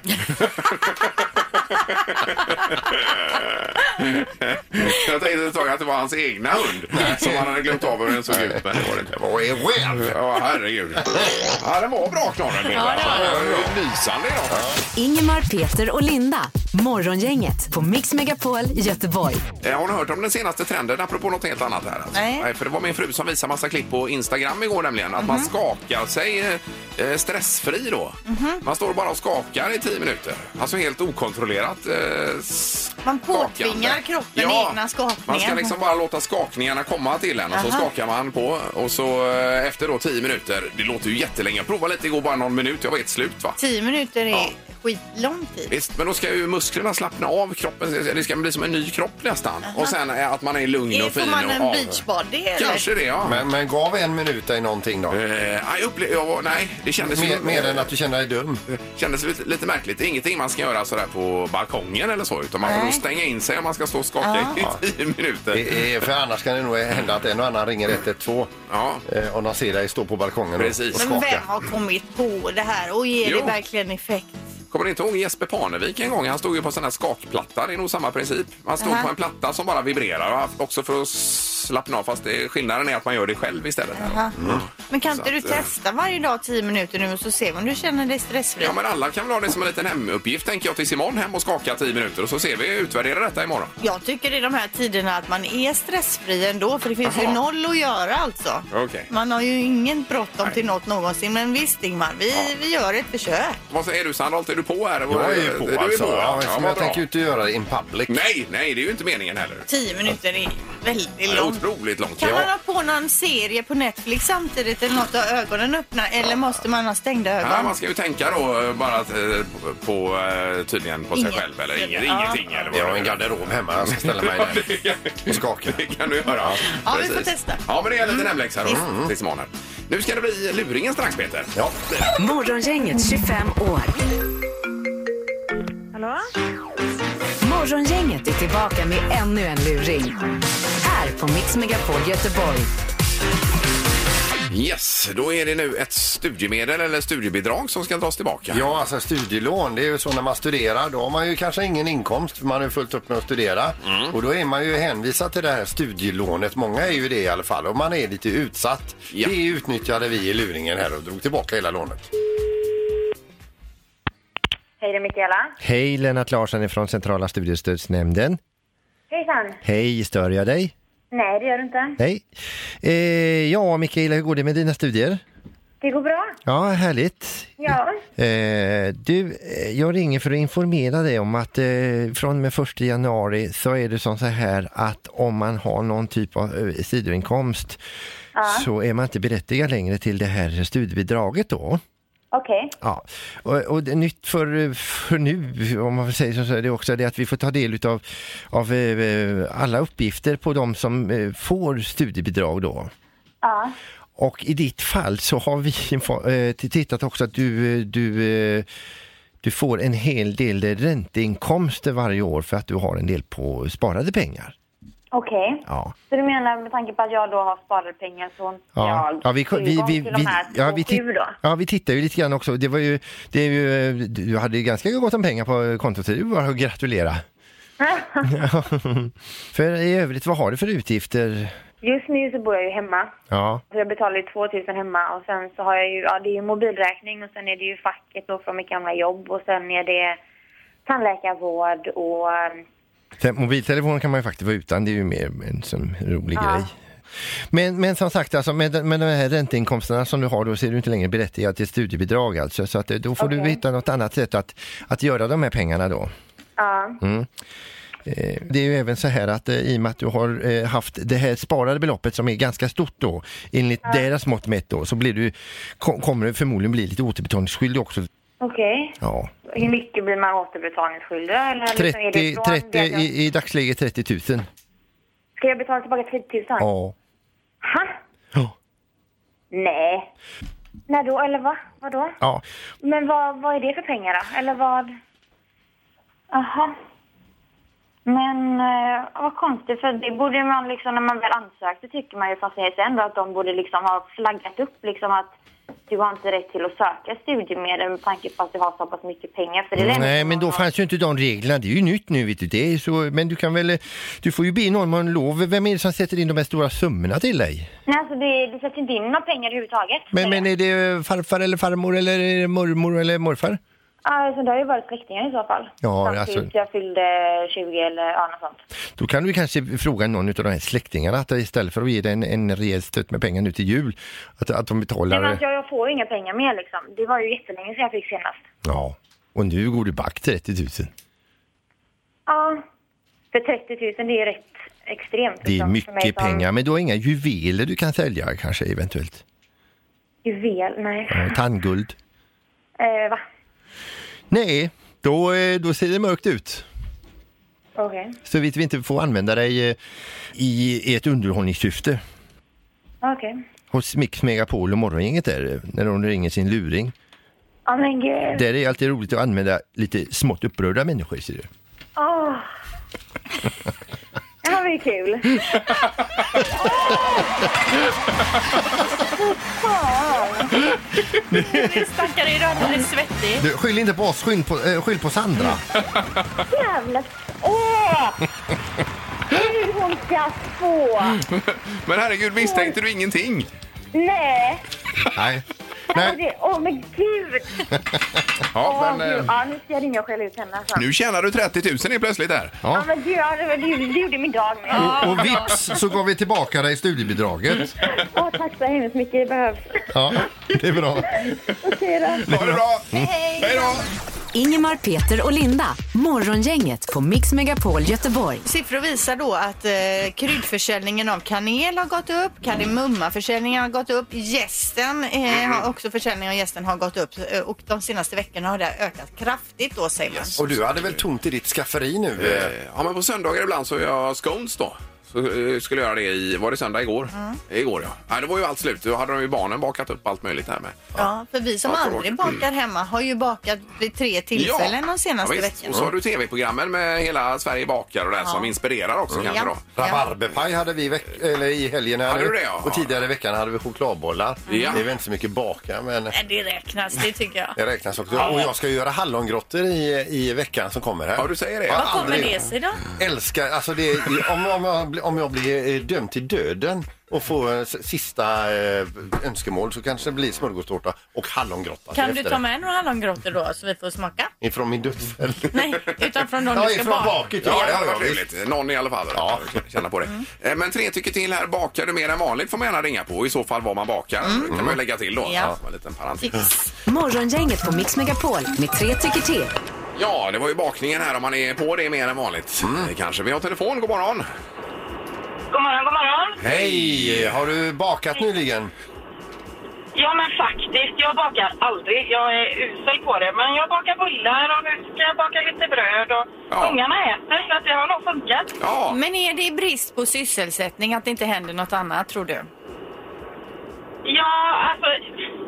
[SPEAKER 2] Jag tänkte ett tag att det var hans egna hund som han hade glömt av hur den såg ut. Men det var det inte.
[SPEAKER 4] Vad är räv?
[SPEAKER 2] Ja, herregud. Ja, den var bra knorren. Linda.
[SPEAKER 3] Ja, det var den.
[SPEAKER 2] Det var ju Lysande idag.
[SPEAKER 1] Ingemar, Peter och Linda. Morgongänget på Mix Megapol Göteborg.
[SPEAKER 2] Eh, Har ni hört om den senaste trenden apropå något helt annat här? Alltså.
[SPEAKER 3] Nej.
[SPEAKER 2] För det var min fru som visade massa klipp på Instagram igår nämligen. Att man
[SPEAKER 3] Mhm.
[SPEAKER 2] skakar sig eh, stressfri då.
[SPEAKER 3] Mhm.
[SPEAKER 2] Man står bara och skakar i tio minuter. Alltså helt okontrollerat eh, s-
[SPEAKER 3] Man
[SPEAKER 2] skakande.
[SPEAKER 3] påtvingar kroppen egna skakningar.
[SPEAKER 2] Man ska liksom bara låta skakningarna komma till en och så
[SPEAKER 3] Aha.
[SPEAKER 2] skakar man på. Och så eh, efter då tio minuter, det låter ju jättelänge. Jag provade lite igår, bara någon minut. Jag var helt slut va?
[SPEAKER 3] Tio minuter är
[SPEAKER 2] Ja.
[SPEAKER 3] skitlång tid.
[SPEAKER 2] Visst, men då ska ju musklerna slappna av kroppen. Det ska bli som en ny kropp nästan. Och sen eh, att man är lugn
[SPEAKER 3] Är,
[SPEAKER 2] och fin.
[SPEAKER 3] får man en
[SPEAKER 2] och av.
[SPEAKER 3] beachbody eller?
[SPEAKER 2] Kanske det, ja.
[SPEAKER 4] Men, men gav en minut dig någonting då?
[SPEAKER 2] Eh, nej, upple- jag var, nej, det kändes,
[SPEAKER 4] Mer,
[SPEAKER 2] ju-
[SPEAKER 4] mer än att du känner dig dum.
[SPEAKER 2] kändes lite, lite märkligt. Det är ingenting man ska göra sådär på balkongen eller så. Utan man får
[SPEAKER 3] Nej.
[SPEAKER 2] nog stänga in sig om man ska stå och skaka i tio minuter.
[SPEAKER 4] Det är, Eh, för annars kan det nog hända att en och annan ringer 112
[SPEAKER 2] Ja.
[SPEAKER 4] eh, om de ser dig stå på balkongen och-
[SPEAKER 2] Precis.
[SPEAKER 4] och
[SPEAKER 3] Men
[SPEAKER 4] skaka.
[SPEAKER 3] vem har kommit på det här och ger
[SPEAKER 2] Jo.
[SPEAKER 3] det verkligen effekt?
[SPEAKER 2] Kommer ni inte ihåg Jesper Parnevik en gång? Han stod ju på sån här skakplatta. Det är nog samma princip. Man stod
[SPEAKER 3] Aha.
[SPEAKER 2] på en platta som bara vibrerar. och Också för att slappna av. Fast det, skillnaden är att man gör det själv istället. här då.
[SPEAKER 3] Men kan inte
[SPEAKER 2] Mm. Så
[SPEAKER 3] du
[SPEAKER 2] att, eh,
[SPEAKER 3] testa varje dag 10 minuter nu och så se om du känner dig stressfri?
[SPEAKER 2] Ja, men alla kan väl ha det som en liten hemuppgift tänker jag tills imorgon. Hem och skaka tio minuter och så ser vi utvärdera detta imorgon.
[SPEAKER 3] Jag tycker i de här tiderna att man är stressfri ändå för det finns
[SPEAKER 2] Jaha.
[SPEAKER 3] ju noll att göra alltså.
[SPEAKER 2] Okej.
[SPEAKER 3] Man har ju ingen bråttom till något någonsin men visst Ingmar, vi, vi gör ett försök.
[SPEAKER 2] Vad säger du Sandholt, är du på här?
[SPEAKER 4] Jag är ju på
[SPEAKER 2] du
[SPEAKER 4] alltså.
[SPEAKER 2] Är på, ja.
[SPEAKER 4] Ja,
[SPEAKER 2] Ja,
[SPEAKER 4] eftersom
[SPEAKER 2] vad
[SPEAKER 4] jag
[SPEAKER 2] bra.
[SPEAKER 4] tänker ju inte göra det in public.
[SPEAKER 2] Nej, nej, det är ju inte meningen heller.
[SPEAKER 3] 10 minuter är
[SPEAKER 2] Det
[SPEAKER 3] väldigt
[SPEAKER 2] är
[SPEAKER 3] långt.
[SPEAKER 2] otroligt långt.
[SPEAKER 3] Kan man
[SPEAKER 2] Ja.
[SPEAKER 3] ha på någon serie på Netflix samtidigt eller något och ha ögonen öppna eller måste man ha stängda ögon?
[SPEAKER 2] Ja, man ska ju tänka då eh, bara att, eh, på- på eh, tydligen på sig
[SPEAKER 3] Inget.
[SPEAKER 2] själv eller inget,
[SPEAKER 3] Ja.
[SPEAKER 2] ingenting eller vad
[SPEAKER 4] Jag har
[SPEAKER 2] det
[SPEAKER 4] en
[SPEAKER 2] är.
[SPEAKER 4] garderob hemma. Jag ska ställa mig där och skaka.
[SPEAKER 2] Det kan du göra.
[SPEAKER 3] Ja, vi får
[SPEAKER 2] Precis.
[SPEAKER 3] testa. Mm.
[SPEAKER 2] Ja, men det är lite hemläxa då tills imorgon. här. Nu ska det bli luringen strax Peter.
[SPEAKER 4] Ja.
[SPEAKER 1] Morgongänget 25 år.
[SPEAKER 6] Hallå?
[SPEAKER 1] Morgongänget är tillbaka med ännu en luring. Här på Mix Megapol Göteborg.
[SPEAKER 2] Yes, då är det nu ett studiemedel eller studiebidrag som ska tas tillbaka.
[SPEAKER 4] ja, alltså studielån. Det är ju så när man studerar. Då har man ju kanske ingen inkomst för man har ju fullt upp med att studera.
[SPEAKER 2] Mm.
[SPEAKER 4] Och då är man ju hänvisad till det här studielånet. Många är ju det i alla fall. Och man är lite utsatt.
[SPEAKER 2] Ja.
[SPEAKER 4] Det utnyttjade vi i luringen här och drog tillbaka hela lånet.
[SPEAKER 8] Hej, det är Mikaela.
[SPEAKER 9] Hej, Lennart Larsson från Centrala studiestödsnämnden.
[SPEAKER 8] Hejsan.
[SPEAKER 9] Hej, stör jag dig?
[SPEAKER 8] Nej, det gör du inte.
[SPEAKER 9] Nej. Eh, ja, Mikaela, hur går det med dina studier?
[SPEAKER 8] Det går bra.
[SPEAKER 9] Ja, härligt.
[SPEAKER 8] Ja.
[SPEAKER 9] Eh, du, eh, jag ringer för att informera dig om att eh, från och med 1 januari så är det som så här att om man har någon typ av eh, sidoinkomst så är man inte berättigad längre till det här studiebidraget då.
[SPEAKER 8] Okej.
[SPEAKER 9] Ja, och, och det är nytt för, för nu, om man säger så, så är det också det att vi får ta del utav, av eh, alla uppgifter på de som eh, får studiebidrag då.
[SPEAKER 8] Ja.
[SPEAKER 9] Och i ditt fall så har vi få- eh, tittat också att du, eh, du, eh, du får en hel del ränteinkomster varje år för att du har en del på sparade pengar.
[SPEAKER 8] Okej.
[SPEAKER 9] Ja.
[SPEAKER 8] Så du menar med tanke på att jag då har sparade pengar så
[SPEAKER 9] Ja,
[SPEAKER 8] jag
[SPEAKER 9] ja, vi, vi, vi,
[SPEAKER 8] till de
[SPEAKER 9] vi,
[SPEAKER 8] här
[SPEAKER 9] ja, vi,
[SPEAKER 8] två sju då?
[SPEAKER 9] titt- ja, vi tittar ju lite grann också. Det var ju, det är ju, eh, du hade ju ganska gott om pengar på kontot, så det är ju bara att gratulera. Ja. för i övrigt, vad har du för utgifter?
[SPEAKER 8] Just nu så bor jag ju hemma.
[SPEAKER 9] Ja,
[SPEAKER 8] Så jag betalar ju 2000 hemma och sen så har jag ju, ja det är ju mobilräkning och sen är det ju facket då från mitt gamla jobb och sen är det tandläkarvård och eh,
[SPEAKER 9] Sen, mobiltelefon kan man ju faktiskt vara utan, det är ju mer en sån rolig
[SPEAKER 8] Ja.
[SPEAKER 9] grej. Men, men som sagt, alltså, med, de- med de här ränteinkomsterna som du har då så är du inte längre berättigad till studiebidrag alltså. Så att, eh, då får du
[SPEAKER 8] Okej.
[SPEAKER 9] hitta något annat sätt att, att göra de här pengarna då. Mm.
[SPEAKER 8] ja,
[SPEAKER 9] Eh, Det är ju även så här att eh, i och med att du har eh, haft det här sparade beloppet som är ganska stort då, enligt deras mått mätt då, så blir du, ko- kommer du förmodligen bli lite återbetalningsskyldig också.
[SPEAKER 8] okej.
[SPEAKER 9] Ja.
[SPEAKER 8] Hur mycket blir man återbetalningsskyldig? Eller liksom är
[SPEAKER 9] 30,
[SPEAKER 8] det från det
[SPEAKER 9] 30
[SPEAKER 8] att jag-
[SPEAKER 9] i, i dagsläget 30 000.
[SPEAKER 8] Ska jag betala tillbaka 30 000?
[SPEAKER 9] Ja.
[SPEAKER 8] Ha?
[SPEAKER 9] Ja.
[SPEAKER 8] Nej. När då? Eller va? Vadå?
[SPEAKER 9] Ja,
[SPEAKER 8] Men vad, vad är det för pengar då? Eller vad? Aha. Men eh, vad konstigt, för det borde man liksom, när man väl ansökte tycker man ju fastighetsägaren då att de borde liksom ha flaggat upp liksom att du har inte rätt till att söka studiemedel med tanke på att du har så pass mycket pengar. För det är det enda
[SPEAKER 9] Nej,
[SPEAKER 8] som
[SPEAKER 9] men då
[SPEAKER 8] man har.
[SPEAKER 9] fanns ju inte de reglerna. Det är ju nytt nu, vet du. Det är så, men du kan väl, eh, du får ju be någon om lov. Vem är det som sätter in de här stora summorna till dig?
[SPEAKER 8] Nej, alltså det, det sätts inte in några pengar överhuvudtaget.
[SPEAKER 9] Men, men är det farfar eller farmor eller är det mormor eller morfar?
[SPEAKER 8] Alltså, det har ju varit släktingar i så fall.
[SPEAKER 9] Ja,
[SPEAKER 8] Fram
[SPEAKER 9] alltså-
[SPEAKER 8] tills jag fyllde 20 eller ja, något sånt.
[SPEAKER 9] Då kan du kanske fråga någon av de här släktingarna att istället för att ge dig en, en rejäl stöt med pengar nu till jul, att, att de betalar.
[SPEAKER 8] Men alltså, jag, jag får ju inga pengar mer liksom. Det var ju jättelänge sedan jag fick senast.
[SPEAKER 9] Ja, och nu går du back 30 000.
[SPEAKER 8] Ja, för 30 000 det är ju rätt extremt.
[SPEAKER 9] Det är
[SPEAKER 8] liksom, för mig
[SPEAKER 9] mycket
[SPEAKER 8] som
[SPEAKER 9] pengar, men du har inga juveler du kan sälja kanske eventuellt?
[SPEAKER 8] Juvel, nej.
[SPEAKER 9] Ja, Tandguld?
[SPEAKER 8] Eh, va?
[SPEAKER 9] Nej, då, eh, då ser det mörkt ut.
[SPEAKER 8] Okej.
[SPEAKER 9] Så vitt vi inte får använda dig eh, i ett underhållningssyfte
[SPEAKER 8] Okej.
[SPEAKER 9] hos Mix Megapol och Morgongänget där, eh, när de ringer sin luring.
[SPEAKER 8] Ja men gud.
[SPEAKER 9] Där är det alltid roligt att använda lite smått upprörda människor, ser du.
[SPEAKER 8] Åh. Ja, det var ju kul.
[SPEAKER 3] Vi stackare är du alldeles svettig.
[SPEAKER 9] du skyll inte på oss, skyll på, eh, skyll på Sandra.
[SPEAKER 8] Jävla... Åh! Hur hon ska få!
[SPEAKER 2] Men herregud, misstänkte du ingenting?
[SPEAKER 8] Nej!
[SPEAKER 9] Nej.
[SPEAKER 8] Åh
[SPEAKER 9] Nej.
[SPEAKER 8] det- åh, men gud!
[SPEAKER 2] Ja,
[SPEAKER 8] Åh,
[SPEAKER 2] men,
[SPEAKER 8] gud.
[SPEAKER 2] eh,
[SPEAKER 8] Ja, nu ska jag ringa och skälla ut henne. Alltså.
[SPEAKER 2] nu tjänar du 30 000 helt plötsligt här.
[SPEAKER 8] Ja, men gud, ja, det, var- det, det gjorde min dag med.
[SPEAKER 9] Och, och vips så gav vi tillbaka dig studiebidraget.
[SPEAKER 8] Åh, tack så hemskt mycket. Det behövs.
[SPEAKER 9] Ja, det är bra.
[SPEAKER 8] Okej då.
[SPEAKER 2] Ha det bra! Hej då!
[SPEAKER 1] Ingemar, Peter och Linda. Morgongänget på Mix Megapol Göteborg.
[SPEAKER 3] Siffror visar då att eh, kryddförsäljningen av kanel har gått upp, kardemummaförsäljningen har gått upp, gästen, eh,
[SPEAKER 2] Mm.
[SPEAKER 3] har också försäljningen av gästen har gått upp eh, och de senaste veckorna har det ökat kraftigt då säger man.
[SPEAKER 4] Och du hade väl tomt i ditt skafferi nu? eh?
[SPEAKER 2] Eh, Ja, men på söndagar ibland så gör jag scones då. Så eh, skulle jag göra det i, var det söndag igår?
[SPEAKER 3] Mm.
[SPEAKER 2] Igår ja. Nej, det var ju allt slut. Då hade de ju barnen bakat upp allt möjligt här med.
[SPEAKER 3] Ja, för vi som
[SPEAKER 2] Ja, förlåt.
[SPEAKER 3] aldrig bakar hemma har ju bakat vid tre tillfällen de senaste
[SPEAKER 2] ja, visst.
[SPEAKER 3] veckorna.
[SPEAKER 2] Och så har du tv-programmen med hela Sverige bakar och det här som inspirerar också kanske
[SPEAKER 3] Ja.
[SPEAKER 2] då.
[SPEAKER 4] Rabarberpaj hade vi i veck- eller i helgen. här
[SPEAKER 2] Hade
[SPEAKER 4] nu.
[SPEAKER 2] du det, ja?
[SPEAKER 4] Och tidigare i veckan hade vi chokladbollar.
[SPEAKER 2] Ja.
[SPEAKER 4] Det är väl inte så mycket baka, men
[SPEAKER 3] Nej, det räknas, det tycker jag.
[SPEAKER 4] det räknas också. Och jag ska ju göra hallongrottor i, i veckan som kommer här.
[SPEAKER 2] Ja, du säger det.
[SPEAKER 4] Ja.
[SPEAKER 2] Ja.
[SPEAKER 3] Vad kommer
[SPEAKER 4] aldrig.
[SPEAKER 3] det sig då?
[SPEAKER 4] Älskar, alltså det, om, om, jag, blir- om jag blir eh, dömd till döden och får eh, s- sista eh, önskemål så kanske det blir smörgåstårta och hallongrotta.
[SPEAKER 3] Kan
[SPEAKER 4] till
[SPEAKER 3] du ta
[SPEAKER 4] efterrätt.
[SPEAKER 3] med några hallongrottor då så vi får smaka?
[SPEAKER 4] Ifrån min dödscell.
[SPEAKER 3] Nej, utan från de
[SPEAKER 4] Ja,
[SPEAKER 3] du ska
[SPEAKER 4] ifrån
[SPEAKER 3] baka.
[SPEAKER 4] baket.
[SPEAKER 2] Ja, det
[SPEAKER 4] ja,
[SPEAKER 2] hade varit
[SPEAKER 4] ja, visst.
[SPEAKER 2] trevligt. Någon i alla fall. Ja.
[SPEAKER 4] Ja.
[SPEAKER 2] Känna på det. Eh, Men tre tycker till här. Bakar du mer än vanligt får man gärna ringa på. I så fall vad man bakar. Det kan man ju lägga till då.
[SPEAKER 3] Ja.
[SPEAKER 2] Som en liten parentes.
[SPEAKER 3] Tips.
[SPEAKER 1] Morgongänget på Mix Megapol med tre tycker till.
[SPEAKER 2] Ja, det var ju bakningen här om man är på det mer än vanligt. Eh, Kanske. Vi har telefon. God morgon.
[SPEAKER 6] God morgon, god morgon.
[SPEAKER 4] Hej! Har du bakat nyligen?
[SPEAKER 6] Ja, men faktiskt. Jag bakar aldrig. Jag är usel på det. Men jag bakar bullar och nu ska jag baka lite bröd. Och
[SPEAKER 2] Ja.
[SPEAKER 6] Ungarna äter, så att det har nog funkat.
[SPEAKER 2] Ja.
[SPEAKER 3] Men är det i brist på sysselsättning att det inte händer något annat tror du?
[SPEAKER 6] Ja, alltså...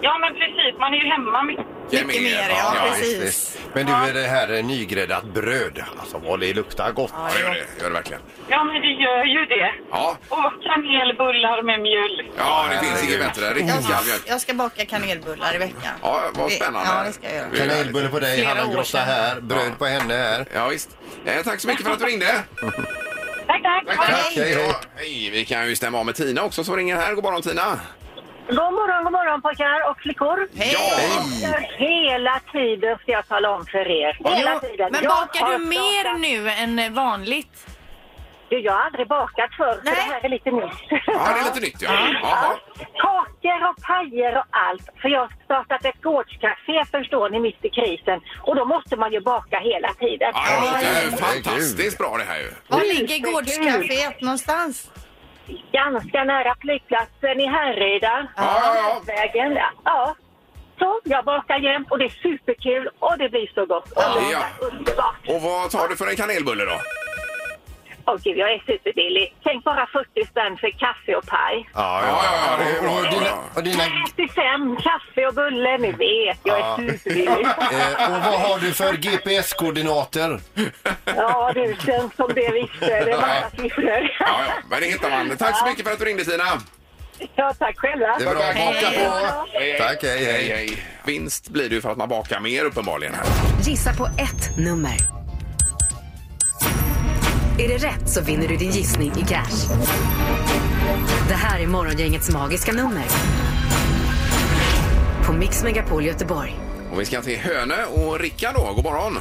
[SPEAKER 6] Ja, men precis. Man är ju hemma mycket.
[SPEAKER 2] Mycket
[SPEAKER 3] mer, ja, precis.
[SPEAKER 4] Visst, visst. Men du, är det här är nygräddat bröd? Alltså vad det luktar gott.
[SPEAKER 2] Ja, gör det. Gör det verkligen.
[SPEAKER 6] Ja, men det gör ju det.
[SPEAKER 2] Ja,
[SPEAKER 6] Och kanelbullar med mjölk.
[SPEAKER 2] ja det finns inget bättre. Riktigt
[SPEAKER 3] Jag,
[SPEAKER 2] skalvmjölk.
[SPEAKER 3] jag ska baka kanelbullar i veckan.
[SPEAKER 2] Ja, vad spännande.
[SPEAKER 3] Ja, det ska jag göra.
[SPEAKER 2] Det är härligt.
[SPEAKER 4] Kanelbulle på dig,
[SPEAKER 3] Flera år
[SPEAKER 4] hallongrotta
[SPEAKER 3] sedan.
[SPEAKER 4] här, bröd på henne här.
[SPEAKER 2] Ja, visst. Eh, tack så mycket för att du ringde.
[SPEAKER 6] Tack, tack.
[SPEAKER 4] Tack, hej, hej.
[SPEAKER 2] Ja, hej. Vi kan ju stämma av med Tina också som ringer här. God morgon Tina.
[SPEAKER 6] God morgon, god morgon pojkar och flickor.
[SPEAKER 3] Hej!
[SPEAKER 6] Hela tiden ska jag tala om för er. Hela tiden.
[SPEAKER 3] Men
[SPEAKER 6] Jag
[SPEAKER 3] bakar
[SPEAKER 6] har
[SPEAKER 3] du mer
[SPEAKER 6] bakat-
[SPEAKER 3] nu än vanligt?
[SPEAKER 6] Du, jag har aldrig bakat förr, för
[SPEAKER 3] Nej.
[SPEAKER 6] det här är lite nytt.
[SPEAKER 2] Ja, det är lite nytt ja. ja. ja.
[SPEAKER 6] Ja. Kakor och pajer och allt. För jag har startat ett gårdscafé, förstår ni, mitt i krisen. Och då måste man ju baka hela tiden.
[SPEAKER 2] Ja, det låter ju
[SPEAKER 4] Herregud.
[SPEAKER 2] fantastiskt bra det här ju.
[SPEAKER 3] Var
[SPEAKER 6] Mm,
[SPEAKER 3] ligger
[SPEAKER 6] det är
[SPEAKER 3] gårdscaféet någonstans?
[SPEAKER 6] Ganska nära flygplatsen i Härryda.
[SPEAKER 2] Ja, ja, ja.
[SPEAKER 6] Vägen, där. ja. Så, jag bakar jämt och det är superkul och det blir så gott. Och
[SPEAKER 2] Ja.
[SPEAKER 6] det är Underbart.
[SPEAKER 2] Och vad tar du för en kanelbulle då?
[SPEAKER 6] Åh gud, jag är superbillig. Tänk bara 40 spänn för kaffe och paj.
[SPEAKER 4] Ja, ja, ja.
[SPEAKER 2] det är bra,
[SPEAKER 4] Och, och
[SPEAKER 2] det är
[SPEAKER 4] dina,
[SPEAKER 2] bra.
[SPEAKER 4] och, dina,
[SPEAKER 6] 35 kaffe och bulle, ni vet. Jag är superbillig.
[SPEAKER 4] eh, och vad har du för GPS-koordinater?
[SPEAKER 6] Ja, du känns som det visste. Det är massa siffror.
[SPEAKER 2] Ja, ja, men det hittar man. Tack så mycket för att du ringde Tina.
[SPEAKER 6] Ja, tack själva.
[SPEAKER 4] Det är bra. Haka på. Tack,
[SPEAKER 2] Hej,
[SPEAKER 4] hej, hej.
[SPEAKER 2] hej. Vinst blir det ju för att man bakar mer uppenbarligen. här.
[SPEAKER 1] Gissa på ett nummer. Är det rätt så vinner du din gissning i cash. Det här är Morgongängets magiska nummer. På Mix Megapol Göteborg.
[SPEAKER 2] Och vi ska till Hönö och Rickard då. God morgon.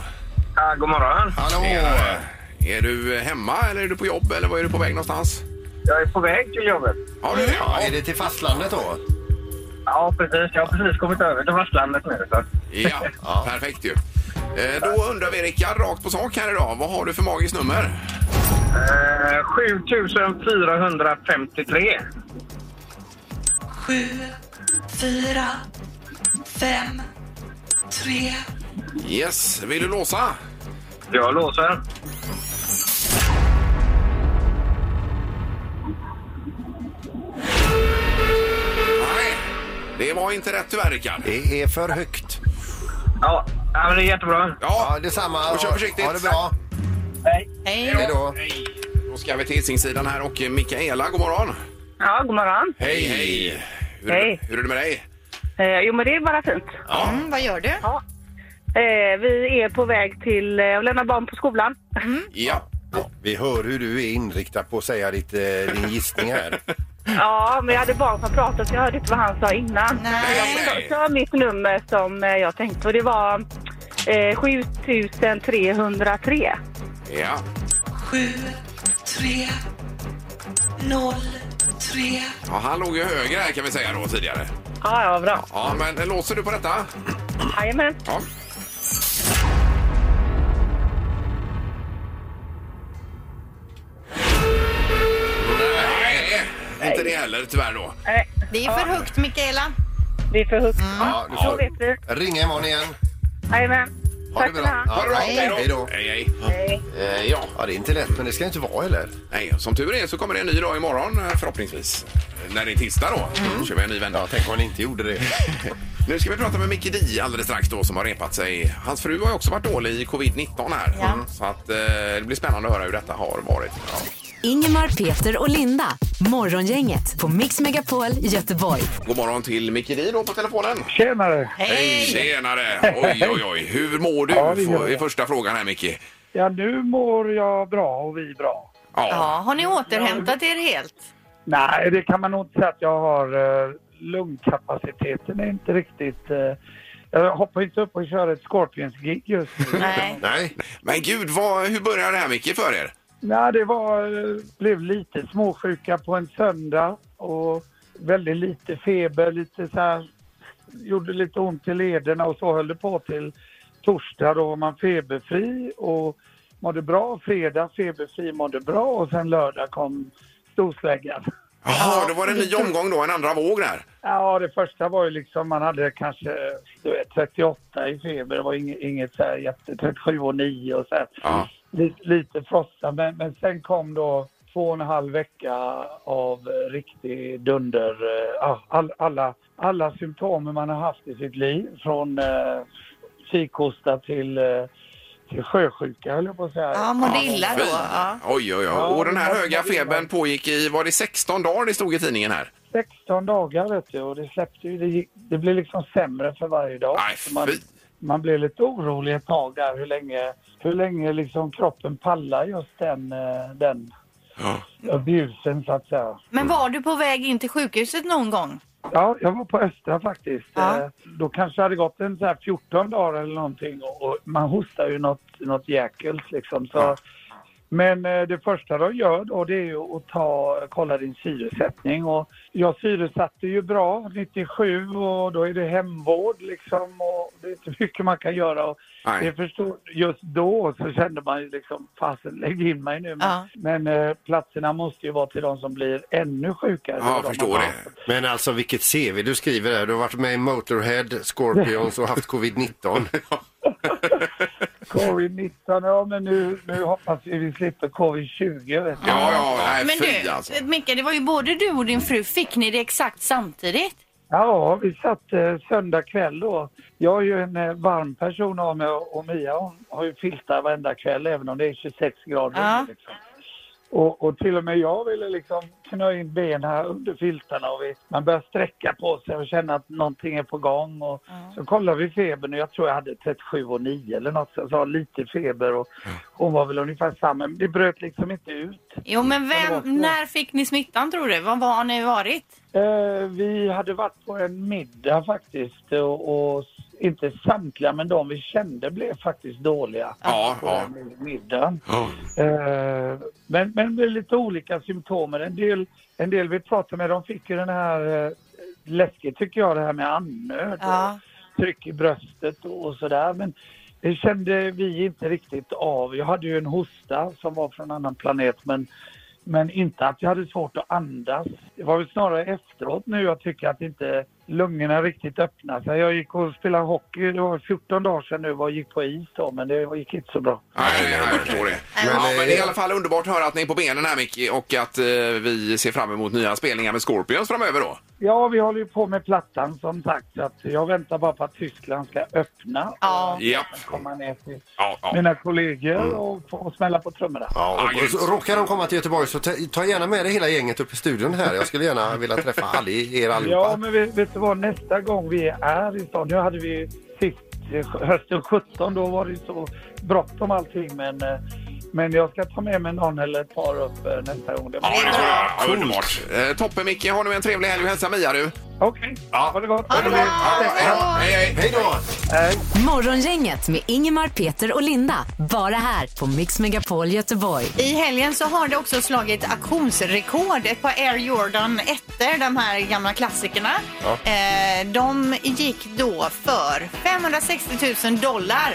[SPEAKER 7] Ja, god morgon.
[SPEAKER 4] Hallå!
[SPEAKER 2] Tjenare. Är du hemma eller är du på jobb eller var är du på väg någonstans?
[SPEAKER 7] Jag är på väg till jobbet.
[SPEAKER 2] Ja, du är det.
[SPEAKER 4] Ja,
[SPEAKER 2] Ja.
[SPEAKER 4] är det till fastlandet då?
[SPEAKER 7] Ja, precis. Jag har precis kommit över till fastlandet nu. Så.
[SPEAKER 2] Ja, perfekt ju. Eh, Då undrar vi Rickard, rakt på sak här idag. Vad har du för magiskt nummer?
[SPEAKER 7] Eh, 7453.
[SPEAKER 2] Yes, vill du låsa?
[SPEAKER 7] Jag låser.
[SPEAKER 2] Nej, det var inte rätt tyvärr Rickard.
[SPEAKER 4] Det är för högt.
[SPEAKER 7] Ja, ja men det är jättebra.
[SPEAKER 2] Ja,
[SPEAKER 4] Ja, detsamma.
[SPEAKER 2] Och kör försiktigt.
[SPEAKER 4] Ha det bra.
[SPEAKER 7] Hej.
[SPEAKER 3] Hej.
[SPEAKER 4] Hej då.
[SPEAKER 2] då ska vi till Hisingssidan här och Mikaela, god morgon.
[SPEAKER 6] Ja, god morgon.
[SPEAKER 2] Hej, hej. Hur,
[SPEAKER 6] Hej.
[SPEAKER 2] hur är det med dig?
[SPEAKER 6] Eh, jo, men det är bara fint.
[SPEAKER 3] Mm, vad gör du?
[SPEAKER 6] Eh, vi är på väg till eh, att lämna barn på skolan.
[SPEAKER 2] Ja.
[SPEAKER 4] Vi hör hur du är inriktad på att säga ditt, eh, din gissning här.
[SPEAKER 6] Ja, men jag hade barn som pratade så jag hörde inte vad han sa innan.
[SPEAKER 2] Nej,
[SPEAKER 6] Jag
[SPEAKER 2] nej.
[SPEAKER 6] sa mitt nummer som eh, jag tänkte och det var eh, 7303.
[SPEAKER 2] Ja. Ja, han låg ju högre här kan vi säga då tidigare.
[SPEAKER 6] Ja, ja, bra.
[SPEAKER 2] Ja, men låser du på detta?
[SPEAKER 6] Jajamän.
[SPEAKER 2] Ja. Nej, inte det heller tyvärr då.
[SPEAKER 6] Nej,
[SPEAKER 3] Det är för högt, Mikaela.
[SPEAKER 6] Det är för högt.
[SPEAKER 4] Ja, du
[SPEAKER 6] Då vet vi.
[SPEAKER 4] får ringa imorgon igen.
[SPEAKER 6] Jajamän.
[SPEAKER 4] Ha det
[SPEAKER 6] Tack för det
[SPEAKER 4] bra.
[SPEAKER 6] här.
[SPEAKER 4] Ja, Hej då.
[SPEAKER 2] Hej, hej.
[SPEAKER 6] Hej.
[SPEAKER 2] Eh, Ja,
[SPEAKER 4] Ja, det är inte lätt, men det ska inte vara heller.
[SPEAKER 2] nej, som tur är så kommer det en ny dag imorgon eh, förhoppningsvis. Eh, När det är tisdag då. Då kör vi en ny vända.
[SPEAKER 4] Mm. Ja, tänk om ni inte gjorde det.
[SPEAKER 2] Nu ska vi prata med Micke Di alldeles strax då som har repat sig. Hans fru har ju också varit dålig i covid-19 här.
[SPEAKER 3] Ja.
[SPEAKER 2] Mm. Så att eh, det blir spännande att höra hur detta har varit. Ja.
[SPEAKER 1] Ingemar, Peter och Linda. Morgongänget på Mix Megapol Göteborg.
[SPEAKER 2] God morgon till Micke Di då på telefonen.
[SPEAKER 10] Tjenare!
[SPEAKER 3] Hej.
[SPEAKER 2] Tjenare! Oj, oj, oj. Hur mår du?
[SPEAKER 10] Ja, det gör
[SPEAKER 2] Får-
[SPEAKER 10] jag.
[SPEAKER 2] är första frågan här Micke.
[SPEAKER 10] Ja, nu mår jag bra och vi bra.
[SPEAKER 2] Ja.
[SPEAKER 3] Ja, har ni återhämtat er helt?
[SPEAKER 10] Nej, det kan man nog inte säga att jag har. eh, Lungkapaciteten är inte riktigt... eh, Jag hoppar inte upp och kör ett Scorpions-gig just nu.
[SPEAKER 3] Nej.
[SPEAKER 4] Nej.
[SPEAKER 2] Men gud, vad, hur börjar det här Micke för er?
[SPEAKER 10] Nej, det var, eh, blev lite småsjuka på en söndag och väldigt lite feber, lite så här, gjorde lite ont i lederna och så höll det på till torsdag. Då var man feberfri och mådde bra. Fredag feberfri, mådde bra och sen lördag kom storsläggan.
[SPEAKER 2] Jaha, då var det en ny omgång då, en andra våg där.
[SPEAKER 10] Ja, det första var ju liksom man hade kanske eh, du vet, 38 i feber. Det var inget, inget så här jätte, 37 och 9 och så här.
[SPEAKER 2] Ja.
[SPEAKER 10] Lite, lite frossa, men, men sen kom då två och en halv vecka av eh, riktig dunder. eh, ja, All, alla, alla symptom man har haft i sitt liv från eh, kikhosta till, eh, till sjösjuka höll jag på att säga.
[SPEAKER 3] Ja, mådde illa då.
[SPEAKER 2] Fy.
[SPEAKER 3] Ja.
[SPEAKER 2] Oj, oj, oj.
[SPEAKER 10] Ja,
[SPEAKER 2] Och den här
[SPEAKER 10] det var-
[SPEAKER 2] höga febern pågick i, var det 16 dagar det stod i tidningen här?
[SPEAKER 10] 16 dagar vet du och det släppte ju, det, gick, det blev liksom sämre för varje dag.
[SPEAKER 2] Nej,
[SPEAKER 10] Så man,
[SPEAKER 2] fy.
[SPEAKER 10] man blev lite orolig ett tag där hur länge, hur länge liksom kroppen pallar just den, eh, den
[SPEAKER 2] Ja.
[SPEAKER 10] abusen så att säga.
[SPEAKER 3] Men var du på väg in till sjukhuset någon gång?
[SPEAKER 10] Ja, jag var på Östra faktiskt.
[SPEAKER 3] Ja.
[SPEAKER 10] Eh, Då kanske det hade gått en så här 14 dagar eller någonting och och man hostar ju något, något jäkels liksom. Så. Men eh, det första de gör då det är ju att ta, kolla din syresättning och jag syresatte ju bra 97 och då är det hemvård liksom och det är inte mycket man kan göra. Och
[SPEAKER 2] Nej.
[SPEAKER 10] det förstår, just då så kände man ju liksom fasen lägg in mig nu. Men,
[SPEAKER 3] Ja.
[SPEAKER 10] men eh, platserna måste ju vara till de som blir ännu sjukare.
[SPEAKER 2] Ja,
[SPEAKER 10] än de
[SPEAKER 2] förstår
[SPEAKER 10] man-
[SPEAKER 2] det.
[SPEAKER 4] Men alltså vilket CV du skriver där. Du har varit med i Motorhead, Scorpions och haft covid-19.
[SPEAKER 10] Covid-19, ja men nu, nu hoppas vi vi slipper covid-20. Vet du.
[SPEAKER 2] Ja, ja, nej,
[SPEAKER 3] Men
[SPEAKER 2] fy
[SPEAKER 3] du,
[SPEAKER 2] alltså.
[SPEAKER 3] Micke, det var ju både du och din fru. Fick ni det exakt samtidigt?
[SPEAKER 10] Ja, vi satt eh, söndag kväll då. Jag är ju en eh, varm person av mig och och Mia hon har ju filtar varenda kväll även om det är 26 grader.
[SPEAKER 3] Ja.
[SPEAKER 10] Liksom. Och, och till och med jag ville liksom knö in ben här under filtarna och vi, man börjar sträcka på sig och känna att någonting är på gång. Och Så kollade vi febern och jag tror jag hade 37 och 9 eller något, så jag sa lite feber och hon var väl ungefär samma. Men det bröt liksom inte ut.
[SPEAKER 3] Jo, men
[SPEAKER 10] Ja, det var så.
[SPEAKER 3] vem, när fick ni smittan tror du? Var, var har ni varit?
[SPEAKER 10] Eh, vi hade varit på en middag faktiskt och, och inte samtliga men de vi kände blev faktiskt dåliga
[SPEAKER 2] Ja,
[SPEAKER 10] på
[SPEAKER 2] ja.
[SPEAKER 10] den middagen.
[SPEAKER 2] Ja.
[SPEAKER 10] Eh, men, men det är lite olika symptom. En del, en del vi pratade med de fick ju den här eh, läskigt tycker jag det här med andnöd
[SPEAKER 3] Ja.
[SPEAKER 10] och tryck i bröstet och, och sådär. Men det kände vi inte riktigt av. Jag hade ju en hosta som var från en annan planet men men inte att jag hade svårt att andas. Det var väl snarare efteråt nu jag tycker att inte lungorna riktigt öppnar sig. Jag gick och spelade hockey, det var 14 dagar sedan nu och gick på is då men det gick inte så bra.
[SPEAKER 2] Nej, nej, jag förstår det. Men, ja, men det är i alla fall underbart att höra att ni är på benen här Micke och att eh, vi ser fram emot nya spelningar med Scorpions framöver då.
[SPEAKER 10] Ja, vi håller ju på med plattan som sagt så att jag väntar bara på att Tyskland ska öppna
[SPEAKER 3] Ja.
[SPEAKER 10] och
[SPEAKER 2] Japp.
[SPEAKER 10] komma ner till
[SPEAKER 2] Ja, ja.
[SPEAKER 10] mina kollegor och få smälla på trummorna.
[SPEAKER 4] Ja, och,
[SPEAKER 2] Ah,
[SPEAKER 4] och, så råkar de komma till Göteborg så ta, ta gärna med dig hela gänget upp i studion här. Jag skulle gärna vilja träffa all, er allihopa.
[SPEAKER 10] Ja, men vet, vet du vad? Nästa gång vi är i stan, nu hade vi sist eh, hösten 17, då var det ju så bråttom allting, men, eh, men jag ska ta med mig någon eller ett par upp eh, nästa gång. Det
[SPEAKER 2] Ja,
[SPEAKER 10] blir-
[SPEAKER 2] det tror jag. Ja, underbart. Eh, toppen Micke, ha nu en trevlig helg och hälsa Mia du.
[SPEAKER 10] Okej, ha det gott!
[SPEAKER 3] det bra.
[SPEAKER 2] Ja,
[SPEAKER 3] Ja.
[SPEAKER 2] hej, hej.
[SPEAKER 4] Hej då!
[SPEAKER 10] Hej.
[SPEAKER 1] Morgongänget med Ingemar, Peter och Linda. Bara här på Mix Megapol Göteborg.
[SPEAKER 3] I helgen så har det också slagit auktionsrekord ett par Air Jordan 1 de här gamla klassikerna. Eh, de gick då för 560 000 dollar.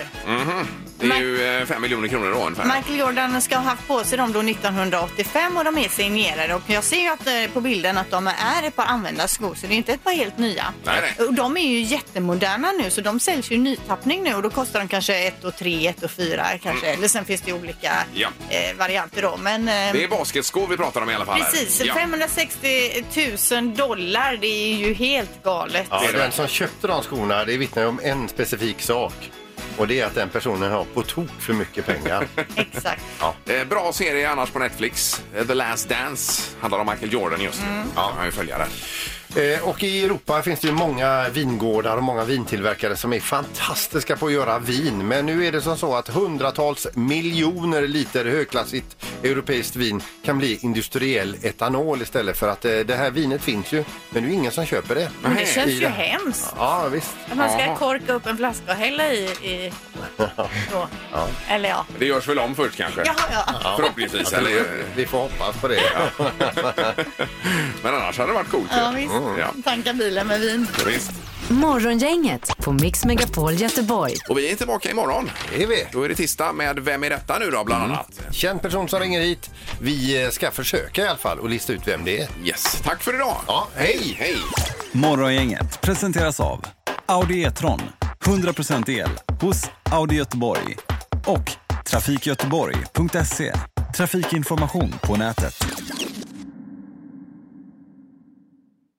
[SPEAKER 2] Det är ju eh, 5 miljoner kronor då ungefär.
[SPEAKER 3] Michael Jordan ska ha haft på sig dem då 1985 och de är signerade. Och jag ser ju att, eh, på bilden att de är ett par använda skor så det är inte ett par helt nya.
[SPEAKER 2] Nej, nej.
[SPEAKER 3] Och de är ju jättemoderna nu så de säljs ju i nytappning nu och då kostar de kanske 1 och 3, 1 och 4 kanske. Eller sen finns det ju olika
[SPEAKER 2] Mm. Ja.
[SPEAKER 3] eh, varianter då. Men, eh,
[SPEAKER 2] Det är basketskor vi pratar om i alla fall. här.
[SPEAKER 3] Precis,
[SPEAKER 2] Ja.
[SPEAKER 3] 560 000 dollar, det är ju helt galet.
[SPEAKER 4] Ja, den som köpte de skorna det vittnar ju om en specifik sak. Och det är att den personen har på tok för mycket pengar.
[SPEAKER 3] Exakt.
[SPEAKER 2] Eh, Bra serie annars på Netflix. Eh, The Last Dance handlar om Michael Jordan just nu.
[SPEAKER 3] Mm.
[SPEAKER 2] Ja, han är ju följare.
[SPEAKER 4] Eh, Och i Europa finns det ju många vingårdar och många vintillverkare som är fantastiska på att göra vin. Men nu är det som så att hundratals miljoner liter högklassigt europeiskt vin kan bli industriell etanol istället för att eh, det här vinet finns ju, men det är ju ingen som köper det.
[SPEAKER 3] Men det känns
[SPEAKER 4] I
[SPEAKER 3] ju
[SPEAKER 4] det här.
[SPEAKER 3] hemskt.
[SPEAKER 4] Ja, visst.
[SPEAKER 3] Att man ska
[SPEAKER 2] Jaha.
[SPEAKER 3] korka upp en flaska och hälla i... i då. Eller ja.
[SPEAKER 2] Det görs väl om först kanske?
[SPEAKER 3] Jaha, ja.
[SPEAKER 2] Förhoppningsvis. Eller, eh,
[SPEAKER 4] Vi får hoppas på det.
[SPEAKER 2] Men annars hade det varit coolt. ju. Mm.
[SPEAKER 3] ja visst.
[SPEAKER 2] Ja,
[SPEAKER 3] Tanka bilen med vin.
[SPEAKER 2] visst.
[SPEAKER 1] Morgongänget på Mix Megapol Göteborg.
[SPEAKER 2] Och vi är tillbaka imorgon.
[SPEAKER 4] Det är vi.
[SPEAKER 2] Då är det tisdag med Vem är detta nu då bland
[SPEAKER 3] Mm.
[SPEAKER 2] annat?
[SPEAKER 4] Känd person som ringer hit. Vi eh, ska försöka i alla fall och lista ut vem det är.
[SPEAKER 2] Yes, tack för idag.
[SPEAKER 4] Ja, hej!
[SPEAKER 2] Hej!
[SPEAKER 11] Morgongänget presenteras av Audi E-tron. 100% el hos Audi Göteborg. Och trafikgöteborg.se. Trafikinformation på nätet.